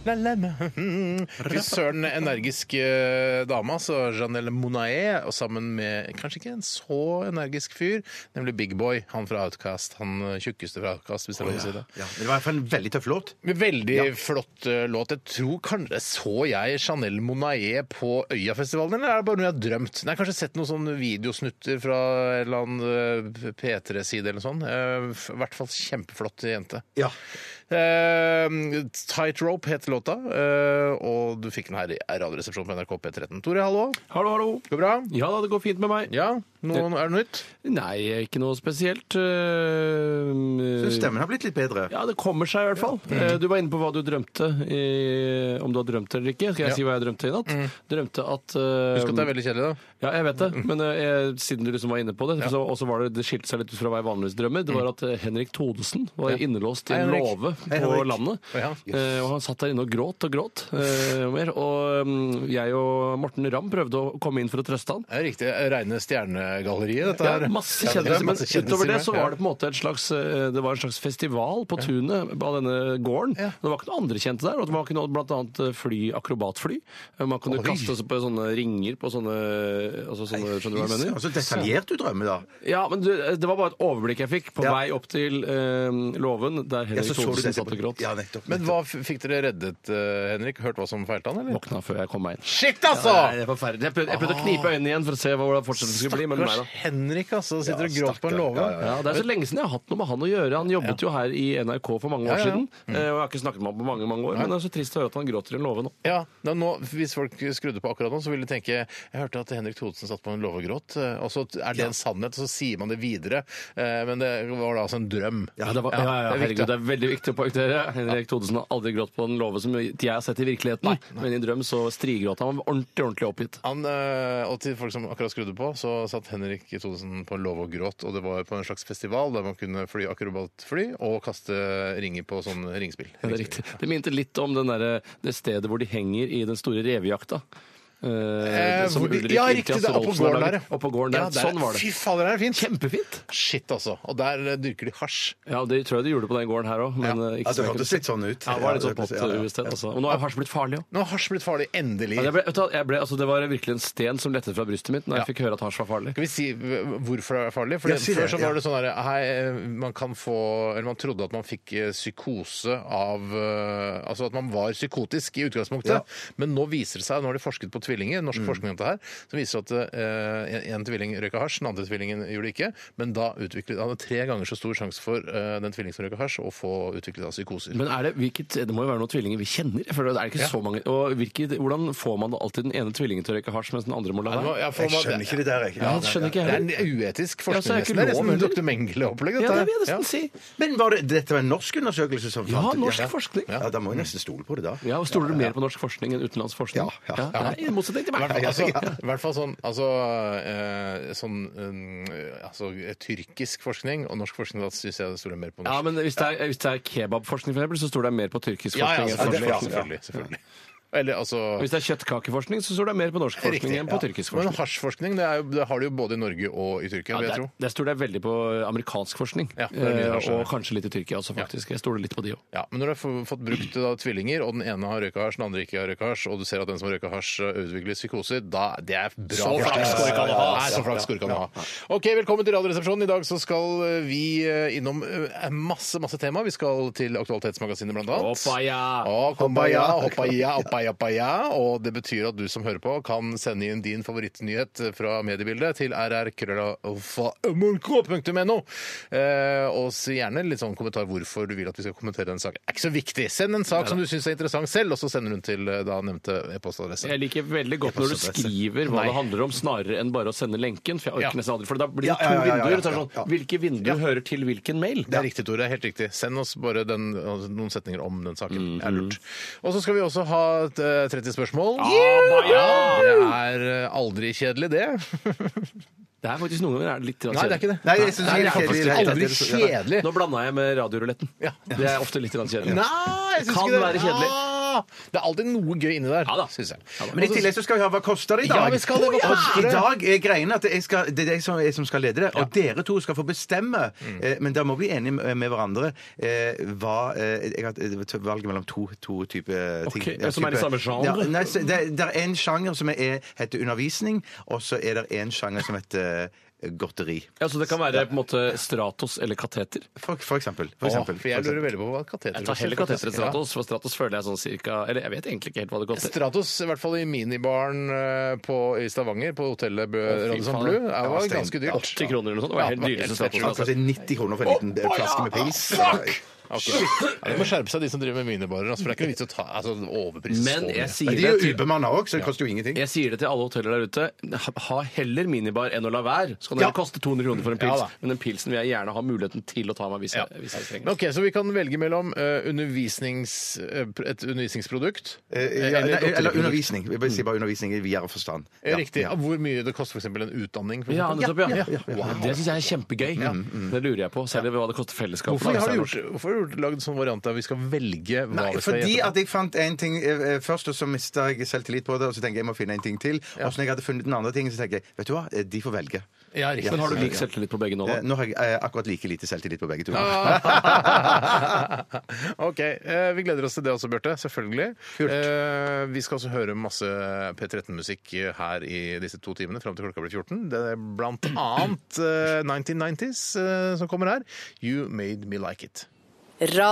Fy søren energisk eh, dame, altså Janelle Monae, og sammen med kanskje ikke en så energisk fyr, nemlig Big Boy, han fra Outcast, han eh, tjukkeste fra Outcast, hvis det er lov å si det. Ja, det var i hvert fall en veldig tøff låt. Men Veldig flott eh, låt. Jeg tror kanskje Så jeg Chanel Monae på Øyafestivalen, eller er det bare noe jeg har drømt? Nei, jeg har kanskje sett noen sånne videosnutter fra en eller annen eh, P3-side eller noe sånt. Eh, f- I hvert fall kjempeflott jente. Ja. Eh, Tight Rope het låta, eh, og du fikk den her i Radioresepsjonen på NRK P13. Tore, hallo. Hallo, hallo. Går det bra? Ja da, det går fint med meg. Ja? Noe, er det noe nytt? Nei, ikke noe spesielt. øh, Så stemmen har blitt litt bedre. Ja, det kommer seg i hvert fall. Eh, Du var inne på hva du drømte. I, om du har drømt eller ikke. Skal jeg Ja. Mm. si hva jeg drømte i natt? Drømte at Husk at det eh, er veldig Mm. kjedelig, da. Ja, jeg vet det. Men eh, jeg, siden du liksom var inne på det, så, og så var det, det skilte seg litt ut fra hva jeg vanligvis drømmer. Det var at eh, Henrik Thodesen var innelåst i Mm. Hei, en Henrik. låve på Hei, Henrik. landet. Ja. Eh, og han satt der inne og gråt og gråt. eh, og mer. Og mm, jeg og Morten Ramm prøvde å komme inn for å trøste han. Det er riktig. Reine stjernegalleriet, dette her. Ja, masse Ja, det er kjendiser. Men masse kjendiser utover det med. så Ja. var det på en måte et slags, eh, det var en slags festival på tunet av denne gården. Ja. Det var ikke noen andre kjente der. og Man kunne blant annet eh, fly akrobatfly. Eh, Man kunne Oi. kaste seg på sånne ringer på sånne, altså sånne Skjønner du hva jeg mener? Og så altså, detaljert du drømmer, da. Ja, men du, eh, det var bare et overblikk jeg fikk på Ja. vei opp til eh, låven, der Ja, Henrik så så du Thorsen dette satt på- og gråt. Ja, nettopp. Men hva f- fikk dere reddet, eh, Henrik? Hørt hva som feilte han, eller? Våkna før jeg kom meg inn. Ah. Shit, altså! Nei, det er forferdelig. Jeg prøvde, jeg prøvde å knipe øynene igjen for å se hva hvordan fortsettelsen skulle bli. men nei da. Stakkars Henrik, altså. Sitter og gråter på en låve. Ja, Det er så lenge siden jeg har hatt noe med han å gjøre. Han jobbet jo her i NRK for mange Ja, år ja, ja. siden. eh, Og jeg har ikke snakket med han på mange mange år. Men det er så trist å høre at han gråter i en låve nå. Ja, da nå, Hvis folk skrudde på akkurat nå, så ville de tenke Jeg hørte at Henrik Thodesen satt på en låve og gråt. eh, Og så er det en sannhet, og så sier man det videre. Eh, Men det var da altså en drøm. Ja, det, var, ja, ja, det er viktig. herregud, det er veldig viktig å poengtere. Henrik Thodesen har aldri grått på en låve som jeg har sett i virkeligheten. Men i drøm så strigråt han. Han var ordentlig, ordentlig oppgitt. Han, eh, og til folk som akkurat skrudde på, så satt Henrik Thodesen på en låve og gråt. Og det var på en slags festival der man kunne fly akrobatfly og kaste ringer på sånn ringspill. Ja, det er riktig. Det minte litt om den derre- det stedet hvor de henger i den store revejakta. Eh, Eh, som hvor de- Ulrik ja, Ulrik riktig! Det Jasse er oppå Rolfsen har gården der. laget. Oppå gården der. Ja, Sånn var det. Fy fader, det er fint! Kjempefint! Shit, altså. Og der eh, dyrker de hasj. Ja, Det tror jeg de gjorde på den gården her òg, men eh, Ja, ikke det så hørtes litt sånn ut. Ja, det var litt sånn pott Ja, ja. uvisshet, altså. Og nå har hasj blitt farlig òg. Nå har hasj blitt farlig. Endelig. Jeg ble, vet du, hva, jeg ble, altså, det var virkelig en sten som lettet fra brystet mitt når Ja. jeg fikk høre at hasj var farlig. Skal vi si hvorfor det er farlig? Fordi Ja, si det, Før så var ja. det sånn der, hei, man kan få, eller man trodde at man fikk eh, psykose av eh, Altså at man var psykotisk i utgangspunktet. Ja. Mm. Men nå viser det seg, nå har de forsket på tvillinger, norsk forskning om dette her, som viser at eh, en- en tvilling røyka hasj, den andre tvillingen gjorde det ikke. Men da utviklet han tre ganger så stor sjanse for eh, den tvillingen som røyka hasj, å få utviklet av psykoser. Men er det, hvilket, det må jo være noen tvillinger vi kjenner? Jeg føler det er ikke så mange. Og hvilket, hvordan får man da alltid den ene tvillingen til å røyke hasj, mens den andre må Ja, la det være? var- ja, for Jeg man- skjønner ikke det der, jeg. Ja, det skjønner ikke Det jeg er en heller. unetisk Ja, så er forskning. det ikke nesten. det er lov, nesten eller? Dr. Mengele-opplegg, Ja, dette det her. vil jeg Ja. nesten si. Men var det, dette var en norsk undersøkelse som Ja, fant ut- norsk forskning. Ja, da må jeg nesten stole på det, da. Ja, og Stoler du mer på norsk forskning enn utenlandsk forskning? Ja, ja, ja. Nei, i motsetning til I hvert meg. fall, altså, i hvert fall sånn, altså, eh, sånn eh, altså, eh, Tyrkisk forskning og norsk forskning, da syns jeg det stoler mer på Ja, norsk. men hvis det er, hvis det er kebabforskning, for eksempel, så står det mer på tyrkisk Ja, ja, forskning. enn på norsk selvfølgelig. forskning. selvfølgelig, selvfølgelig. Eller altså Hvis det er kjøttkakeforskning, så står det mer på norsk forskning enn på tyrkisk Men forskning. hasjforskning det, er jo, det har du jo både i Norge og i Tyrkia, Ja, vil der, jeg tro. der stoler jeg veldig på amerikansk forskning, Ja, det er mye eh, hasj, ja. og kanskje litt i Tyrkia også, faktisk. Jeg stoler litt på de òg. Ja, men når du har f- fått brukt da, tvillinger, og den ene har røyka hasj, den andre ikke har røyka hasj, og du ser at den som har røyka hasj, eh, utvikler psykoser, da det er bra forskning. flaks går det ikke an å ha. Nei, så flaks går det ikke an å ha. Ok, Velkommen til Radioresepsjonen. I dag så skal eh, vi eh, innom eh, masse masse tema. Vi skal til Aktualitetsmagasinet, blant annet. Å, kumbaya, hoppaya, oppaya, oppaya. Og det betyr at du som hører på, kan sende inn din favorittnyhet fra mediebildet til rrkrøllalfa.mrk.no. Eh, Og si gjerne litt sånn kommentar hvorfor du vil at vi skal kommentere den saken. Er ikke så viktig. Send en sak som du syns er interessant selv, og så sender hun til eh, da nevnte e-postadresse. Jeg liker veldig godt når du skriver hva det handler om, snarere enn bare å sende lenken. For jeg orker Ja. nesten aldri, for da blir det Ja, ja, ja, to ja, ja, vinduer. og så er ja, det Sånn, hvilke vinduer hører til hvilken mail? Det er riktig, Tore. Helt riktig. Send oss bare den, altså, noen setninger om den saken. Det er lurt. Og så skal vi også ha et, eh, 30 spørsmål. Mhm. Ja, det er eh, aldri kjedelig, det. Det er faktisk noen ganger er det litt Nei, det er ikke det. Nei, jeg synes Nei, ikke det er det er kjedelig. i faktisk det hele tatt. aldri Jeg synes- kjedelig. Nå blanda jeg med radioruletten. Ja. Det er ofte litt grann kjedelig. Nei, jeg syns Kan ikke det. være kjedelig. Ah, Ja! Det er alltid noe gøy inni der, Ja da. syns jeg. Men i tillegg så skal vi ha Hva koster det i dag? Ja, vi skal det, hva Å, ja! koster det? I dag er greien at jeg skal, det er jeg som, jeg som skal lede det, og dere to skal få bestemme. Mm. Eh, men da må vi bli enige med, med hverandre eh, hva eh, Jeg har et valg mellom to, to typer ting. Ok, altså, som er i type- samme genre? Ja, nei, så det, det er en sjanger som er, heter undervisning, og så er det en sjanger som heter eh, godteri. Ja, Så det kan være på en måte Stratos eller kateter? For, for eksempel. For Åh, eksempel for jeg lurer veldig på hva kateter Jeg tar heller kateter enn Stratos, for Stratos føler jeg sånn cirka Eller jeg vet egentlig ikke helt hva det Ja. koster. Stratos, i hvert fall i minibaren eh, på, i Stavanger, på hotellet Bø- fy Radisson faen. Blu, det var stein. ganske dyrt. 80 kroner eller noe sånt. Det var helt Ja, dyreste det var helt Stratos. Kanskje 90 kroner for en liten eh, flaske med pils. Ja, de må skjerpe seg, de som driver med minibarer. Altså, for det er ikke noe vits å ta altså, overpris. Men så mye. jeg Men sier de det er jo til ubemanna òg, så det koster jo ingenting. jeg sier det til alle hoteller der ute. Ha- Ha heller minibar enn å la være. Så kan det Ja. koste 200 kroner for en Ja pils, da. men den pilsen vil jeg gjerne ha muligheten til å ta meg hvis jeg, hvis jeg trenger Men ok, Så vi kan velge mellom eh, undervisnings, eh, et undervisningsprodukt Eh, eh, ja, nei, godteriprodukt. eller undervisning. Vi bare sier bare undervisning i videre forstand. Eh, Riktig. Ja. Hvor mye det koster f.eks. en utdanning? For Ja, eksempel. nettopp, ja. Wow. Det syns jeg er kjempegøy. Det lurer jeg på. Særlig hva det koster fellesskapet. Hvorfor da, hvis har det du er gjort, hvorfor har du lagd sånn variant der vi skal velge hva Nei, vi skal fordi gjette? at jeg fant en ting eh, eh, først, og så mista jeg selvtillit på det. Og så tenker jeg jeg må finne en ting til. Og så når jeg hadde funnet den andre tingen, så tenker jeg vet du hva, Eh, de får velge. Ja, riktig. norsk. Men har du lik selvtillit på begge nå, Eh, da? Nå har jeg eh, akkurat like lite selvtillit på begge to. OK. eh, Vi gleder oss til det også, Bjarte. Selvfølgelig. Kult. Eh, Vi skal også høre masse P13-musikk her i disse to timene fram til klokka blir 14. Det er blant annet eh, 1990s eh, som kommer her. You Made Me Like It.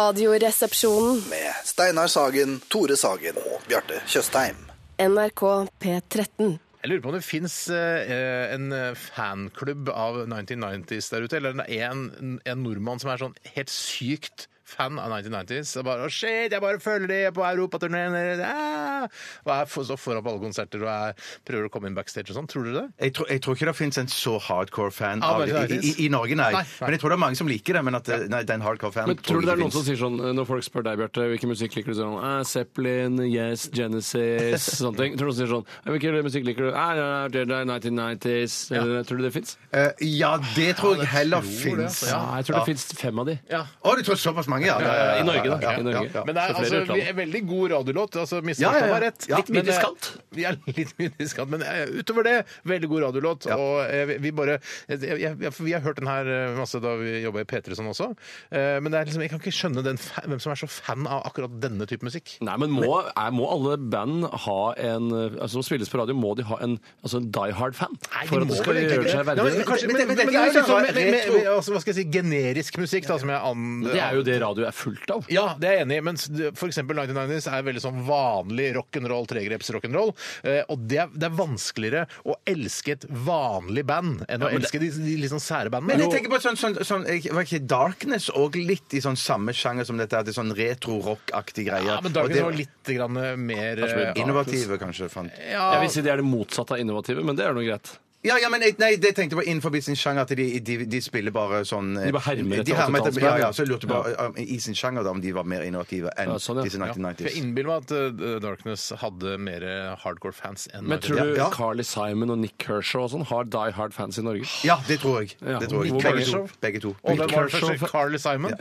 Radioresepsjonen. med Steinar Sagen, Tore Sagen og Bjarte Tjøstheim. NRK P13. Jeg lurer på om det fins eh, en fanklubb av 1990s der ute, eller en, en nordmann som er sånn helt sykt fan av 1990s. Og bare, «Å, shit, jeg bare følger de på europaturneen! Ah! Og er for, så foran på alle konserter og er, prøver å komme inn backstage og sånn. Tror dere det? Jeg, tror- jeg tror ikke det fins en så hardcore fan Av av det i, i, i Norge, nei. Nei, nei. Men jeg tror det er mange som liker det. Men at eh, nei, den hardcore fan Men tror du jeg det er ikke noen som finnes. sier sånn eh, når folk spør deg, Bjarte, hvilken musikk liker du? Så er det Sånn, eh, Zeppelin, Yes, Genesis, sånne ting. Tror du noen sier sånn eh, Hvilken musikk liker du? Eh, ja, det er 1990s. Eh, Tror du det fins? Eh, Ja, det tror jeg heller tror det, fins. altså. Å, Ja, jeg tror det fins fem av de. du tror såpass mange, ja? Ja, ja, ja, I Norge, da. ja, ja, I Norge. ja, ja. Men det er Så flere altså, utlandet. vi er veldig god radiolåt. Altså, Miss Ja, ja, ja. Martha har rett. Ja. Litt mye men, eh, diskant. Vi er litt mye diskant, men eh, utover det, veldig god radiolåt. Og eh, vi- vi bare jeg, jeg, jeg, for Vi har hørt den her eh, masse da vi jobba i P3 og sånn også, eh, men det er liksom, jeg kan ikke skjønne den, fa- hvem som er så fan av akkurat denne type musikk. Nei, men må, er, må alle band ha en eh, altså, Som spilles på radio, må de ha en, altså, en die hard-fan? For at det skal Nei, gjøre seg men- verdig? men kanskje- Men- men- men- men det er men- jo men- liksom- men- men- retro- men- altså, Hva skal jeg si Generisk musikk, da, som jeg an... Det er jo det radio er fullt av. Ja, det er jeg enig i, men s- det- for eksempel 1990s er veldig sånn vanlig rock'n'roll, tregreps rock'n'roll, eh, og det er, det er vanskeligere å elske et vanlig band enn å elske de, de litt sånn sære bandene. Men jeg tenker på sånn, sånn, sånn jeg- Var ikke Darkness òg litt i sånn samme sjanger som dette? At det er sånn retro-rock-aktig greie? ja, men Og Darkness det- var litt grann eh, mer eh, Innovative, kanskje. Fant. Jeg Ja, vil si de er det motsatte av innovative, men det er nå greit. Ja, ja, men jeg, nei, det tenkte jeg på innenfor sin sjanger. At de, de, de spiller bare sånn eh, De bare hermer etter de hermer etter- 80-tallsband. Ja, ja, så jeg lurte på eh, i sin sjanger da, om de var mer innovative enn Ja, sånn, ja. disse Ja, for jeg 1990s. innbiller meg at eh, Darkness hadde mer eh, hardcore fans enn Men tror du Ja. Carly Simon og Nick Kershaw og sånn har die hard-fans i Norge? Ja, det tror jeg. Ja, Det tror jeg. Nick Begge to. Kershaw. Begge to. Og det var Kershaw- først Carly Simon.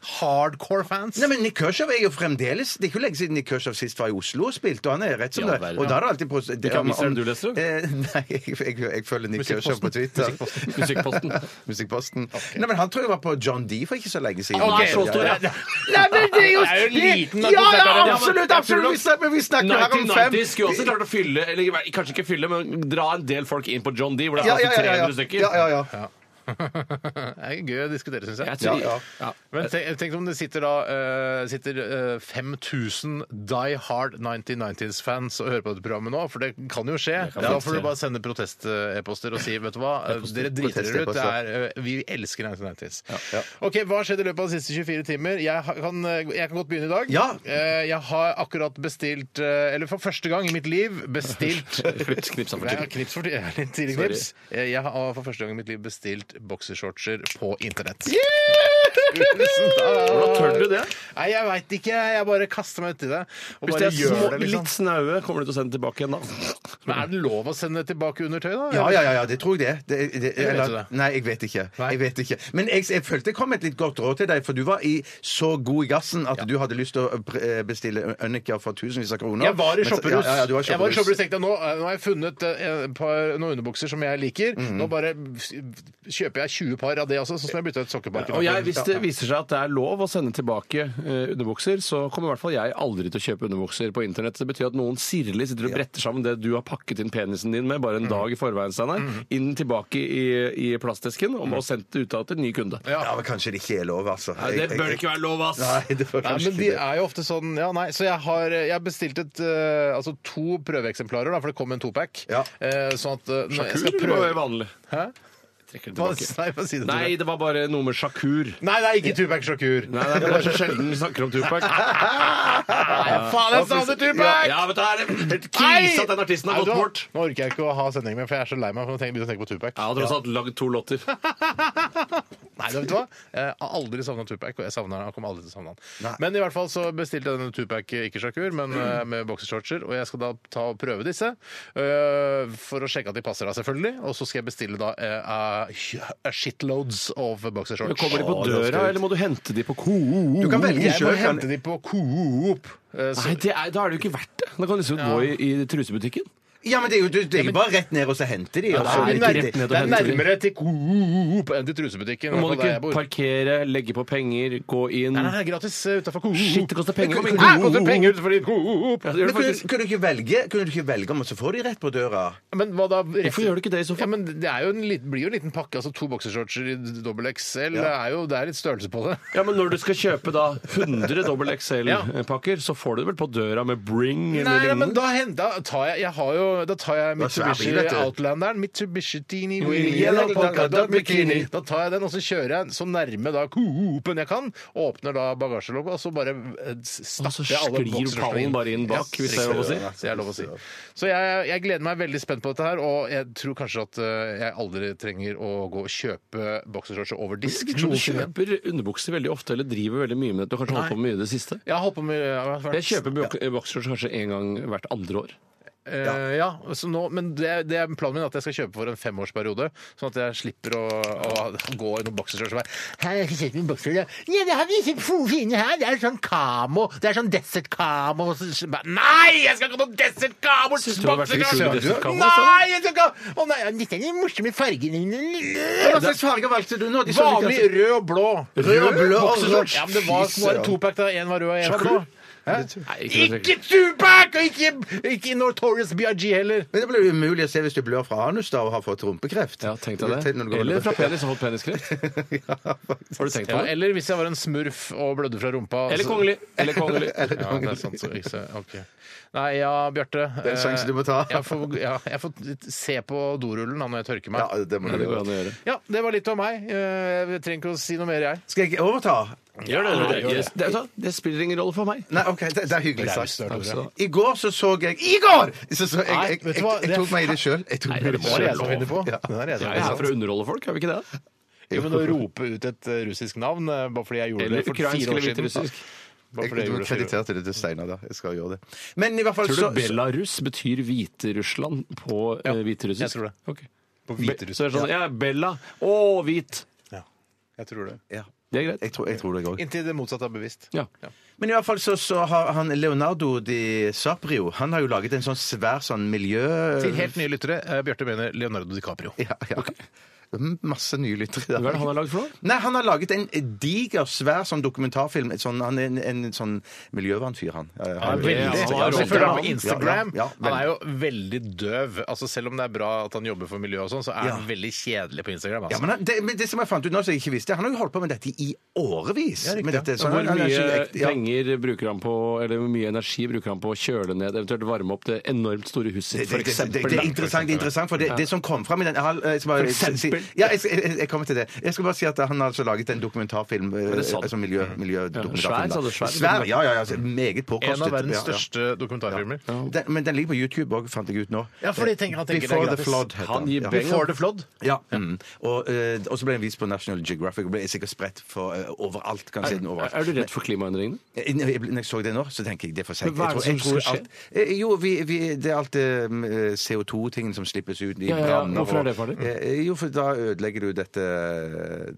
Hardcore fans. Nei, men Nick Kershaw er jo fremdeles Det er ikke lenge siden Nick Kershaw sist var i Oslo og spilte, og han er rett som Ja, det. verden. Og da er det alltid på det, Hvilke aviser er det du leser? Eh, nei, jeg, jeg, jeg følger Nick Kershaw på Twitter. Musikkposten. Musikkposten. Nei, men han tror jeg var på John D for ikke så lenge siden. han er så stor, ja. Nei, men det er jo Det er jo liten at Ja, du snakker ja, om det. absolutt! absolutt. Vi snakker, vi snakker her om fem 1990 skulle også klart å fylle, eller kanskje ikke fylle, men dra en del folk inn på John D, hvor det er Ja, plass ja, til ja, ja. 300 stykker. Ja, ja, ja. det er gøy å diskutere, syns jeg. Jeg tror, Ja, ja. Ja. Men tenk, tenk om det sitter da eh, sitter eh, 5000 Die Hard 1990s-fans og hører på dette programmet nå, for det kan jo skje. kan da faktisk får skje. du bare sende protest-e-poster og si vet du hva, eh, dere driter dere ut. Det er, eh, vi elsker 1990s. OK, hva har skjedd i løpet av de siste 24 timer? Jeg har- kan, eh, jeg kan godt begynne i dag. Ja. Eh, jeg har akkurat bestilt, eh, eller for første gang i mitt liv, bestilt Knips, knips, han for Ja, tidlig. knips for tidlig. Litt tidlig Sorry. knips. Eh, Jeg har for første gang i mitt liv bestilt boksershortser på internett. Tusen Hvordan takk! tør du det? Nei, jeg veit ikke. Jeg bare kaster meg uti det. Og Hvis bare det er små, gjør det, liksom. litt snaue, kommer du til å sende tilbake igjen da? Men er det lov å sende tilbake undertøy, da? Ja, ja, ja, ja, det tror jeg det. er. det, Eller det, vet du eller- det? Nei, jeg vet ikke. Nei. Jeg vet ikke. Men jeg, jeg følte jeg kom med et litt godt råd til deg, for du var i så god i gassen at du hadde lyst til å eh, bestille Ønnika for tusenvis av kroner. Jeg var i Men- shopperus. Ja, ja, du var i Jeg var i shopperus shopperus. tenkte jeg, nå, nå har jeg funnet eh, et par, noen underbukser som jeg liker. Nå bare f- kjøper jeg 20 par av det også, sånn som jeg bytta ut sokkepakken. Og jeg, Hvis det viser seg at det er lov å sende tilbake eh, underbukser, så kommer i hvert fall jeg aldri til å kjøpe underbukser på internett. Det betyr at noen sirlig sitter og bretter sammen det du har pakket inn penisen din med bare en dag i forveien, Steinar, inn tilbake i, i plastesken og, og sendt det ut av til en ny kunde. Ja, men kanskje det ikke er lov, altså. Jeg- jeg- være lov, ass! Nei, det var Nei, kanskje men ikke de det. er jo ofte sånn Ja, nei, så jeg har jeg har bestilt et eh, Altså to prøveeksemplarer, da, for det kom en topack. Ja. Eh, sånn at eh, når jeg Sjakur skal eller prøve var det vanlig? Hæ? Jeg Trekker det Hva- tilbake. Nei, hva sier du? Nei, det var bare noe med sjakur. Nei, det er ikke Tupac Shakur. Nei, det er bare så sjelden vi snakker om Tupac. Faen, jeg savner Tupac! Ja, vet du, er det helt Nei! krise at den artisten Nei, har du, gått bort. Nå orker jeg ikke å ha sending mer, for jeg er så lei meg for å tenke, begynne å tenke på Tupac. Jeg har tross alt lagd to låter. Nei, vet du hva? Jeg har aldri savna Tupac, og jeg savner han. Jeg kommer aldri til å savne han. Men i hvert fall så bestilte jeg denne Tupac, ikke sjakur, men eh, med boksershortser. Og jeg skal da ta og prøve disse, eh, for å sjekke at de passer da, selvfølgelig. Og så skal jeg bestille da eh, eh, shitloads of Men boksershorts. Kommer de på døra, eller må du hente de på Coop? Du kan velge Jeg må sjøl. hente de på Coop. eh, så- Nei, det er, da er det jo ikke verdt det. Da kan du liksom gå i, i trusebutikken. Ja, men det er jo du- det er jo bare rett ned og så hente de. og det så- er det, ikke er rett ned og det er hente de. nærmere til Coop enn til trusebutikken. i Må hvert fall du der jeg ikke bor. parkere, legge på penger, gå inn Nei, nei, gratis utafor Coop. Shit, det koster penger. Kom inn. Hæ, koster penger utenfor din Coop? Ja, Men det gjør det kunne, faktisk. kunne du ikke velge, kunne du ikke velge om, og så får de rett på døra? Men hva da? Hvorfor gjør du ikke det i så Ja, fall? men det er jo en lit- blir jo en liten pakke. altså To boksershortser i dobbel XL. Det er jo det er litt størrelse på det. Ja, men Når du skal kjøpe da 100 dobbel XL-pakker, så får du det vel på døra med Bring eller Nei, nei, men lignende? da, hen- da tar jeg, jeg har jo, da tar jeg er svær Mitsubishi bil, vet du. Outlanderen. Mitsubishi Teeny Mm, Weeny Yellow Yellow polka Polka dot Dot Bikini. bikini. Da tar jeg den, og så kjører jeg så nærme da Coopen jeg kan. Åpner da bagasjelokket, og så bare eh, s- Og stapper så jeg alle sklir boksershortene pallen inn. bare inn bak, hvis det er lov å si. riktig, det er lov å si. Så jeg, jeg gleder meg veldig spent på dette her, og jeg tror kanskje at eh, jeg aldri trenger å gå og kjøpe boksershorts over disk. Men du noensinne igjen. kjøper underbukser veldig ofte, eller driver veldig mye med det. Du har kanskje holdt på med mye i det siste? Jeg har holdt på med jeg har vært- Jeg kjøper bok- boxershorts kanskje en gang hvert andre år. Eh, ja, så nå, men det, det er planen min at jeg skal kjøpe for en femårsperiode, sånn at jeg slipper å, å gå i noen boksershorts og bare Her har jeg ikke kjøpt noen boksershorts. Ja, det har vi ikke få fine her. Det er sånn kamo. Det er sånn desert kamo. Og så- så bare, Nei, jeg skal ikke ha noen desert kamo! du det var veldig kul med desert kamo, Nei, jeg skal ikke ha Å nei, ja, dette er de morsomme fargene Hva slags farger valgte du nå? De så Vanlig like- rød og blå. altså. Rød og blå Boksershorts. og rød. Ja, men det var, Fy var søren. en topack da. Én var rød, og én var blå. Hæ? Nei, ikke noe Ikke Tupac! Og ikke, ikke Notorious BRG heller. Men det blir jo umulig å se hvis du blør fra anus da og har fått rumpekreft. Ja, tenk deg det. Til når du går Eller under- fra penis og fått peniskreft. Har du tenkt på Ja, det? eller hvis jeg var en smurf og blødde fra rumpa. Eller så- kongelig. Eller kongelig. Ja, det er sant. Så, ikke så- ok. Nei, ja, Bjarte. eh, er en sjanse du må ta. Jeg får, ja, jeg får se på dorullen da, når jeg tørker meg. Ja, det må Det du går gjøre. an å gjøre. Ja, det var litt om meg. Eh, Jeg trenger ikke å si noe mer, jeg. Skal jeg overta? Gjør det, Yes, det, det, det spiller ingen rolle for meg. Nei, OK, det, det er hyggelig Raust, sagt. Tore. Takk skal du ha. I går så så jeg I går! Så så jeg, Nei, jeg, vet jeg, du hva? jeg, Det er tok meg i det sjøl. Jeg tok meg i det Hva er det jeg som sjøl. finner på? Ja. Den er jeg som Jeg er her finner på. for å underholde folk, er vi ikke det? Jo, men å rope ut et eh, russisk navn eh, bare fordi jeg gjorde Eller det for ukrainsk fire år eller siden. hviterussisk. Bare fordi jeg Jeg gjorde det for fire år. krediterte det til Steinar, da. Jeg skal gjøre det. Men i hvert fall Tror så du Belarus betyr Hviterussland på ja, hviterussisk? jeg tror det. Ok. På Be- hviterussisk. Så er det sånn, ja, Bella Å, hvit! Ja, jeg tror det. Ja, Det er greit. jeg tror, jeg tror det òg. Inntil det motsatte er bevisst. Ja. Men i hvert fall så, så har han Leonardo di Saprio Han har jo laget en sånn svær sånn miljø... Til helt nye lyttere, eh, Bjarte mener Leonardo DiCaprio. Ja, ja. Mm, Masse nye lyttere. Hva er det han har lagd for noe? Nei, han har laget en diger, svær sånn dokumentarfilm. Et Sånn, han er en, en sånn miljøvernfyr, han. Eh, han- veldig. Han Ja, Han har ja, rolle. selvfølgelig ja, på Instagram. Ja, ja, Han er veldig. jo veldig døv. Altså Selv om det er bra at han jobber for miljøet og sånn, så er han Ja. veldig kjedelig på Instagram. ja, Altså. men, han- det, men det som jeg fant ut nå, som jeg ikke visste, han har jo holdt på med dette i årevis. Ja, riktig. med dette, så Hvor han- han er mye ikke ekte- ja. penger bruker han på, eller hvor mye energi bruker han på å kjøle ned, eventuelt varme opp det enormt store huset sitt, Det, det, f.eks.? det, det, det er interessant, det er interessant for det, det som kom fram i den jeg har, eh, som har- For eksempel. unnskyld. Ja, jeg, skal- jeg, jeg kommer til det. Jeg skal bare si at han har altså laget en dokumentarfilm. eh, det sant? Altså miljø, miljødokumentarfilm. svær, da. sa du, svær? svær ja, ja, ja. altså, Meget påkostet. En av ja, verdens ja. største dokumentarfilmer. Den, men den ligger på YouTube òg, fant jeg ut nå. Ja, for de tenker- han tenker det er Before the gratis. Flood heter Han gir ja. beng. Before the Flood. Ja. Mm. Og, eh, og så ble den vist på National Geographic og ble sikkert spredt for, eh, overalt. Kan jeg si den overalt. Er du redd for klimaendringene? Eh, Når jeg, når jeg så det nå, så tenker jeg det er for seint. Men hva er det Jeg som tror- jeg skal tror alt- eh, Jo, vi, vi, det er alt eh, CO2-tingen som slippes ut i Ja, ja, ja. branner. Hvorfor er og- det farlig? Eh, jo, for da ødelegger du dette,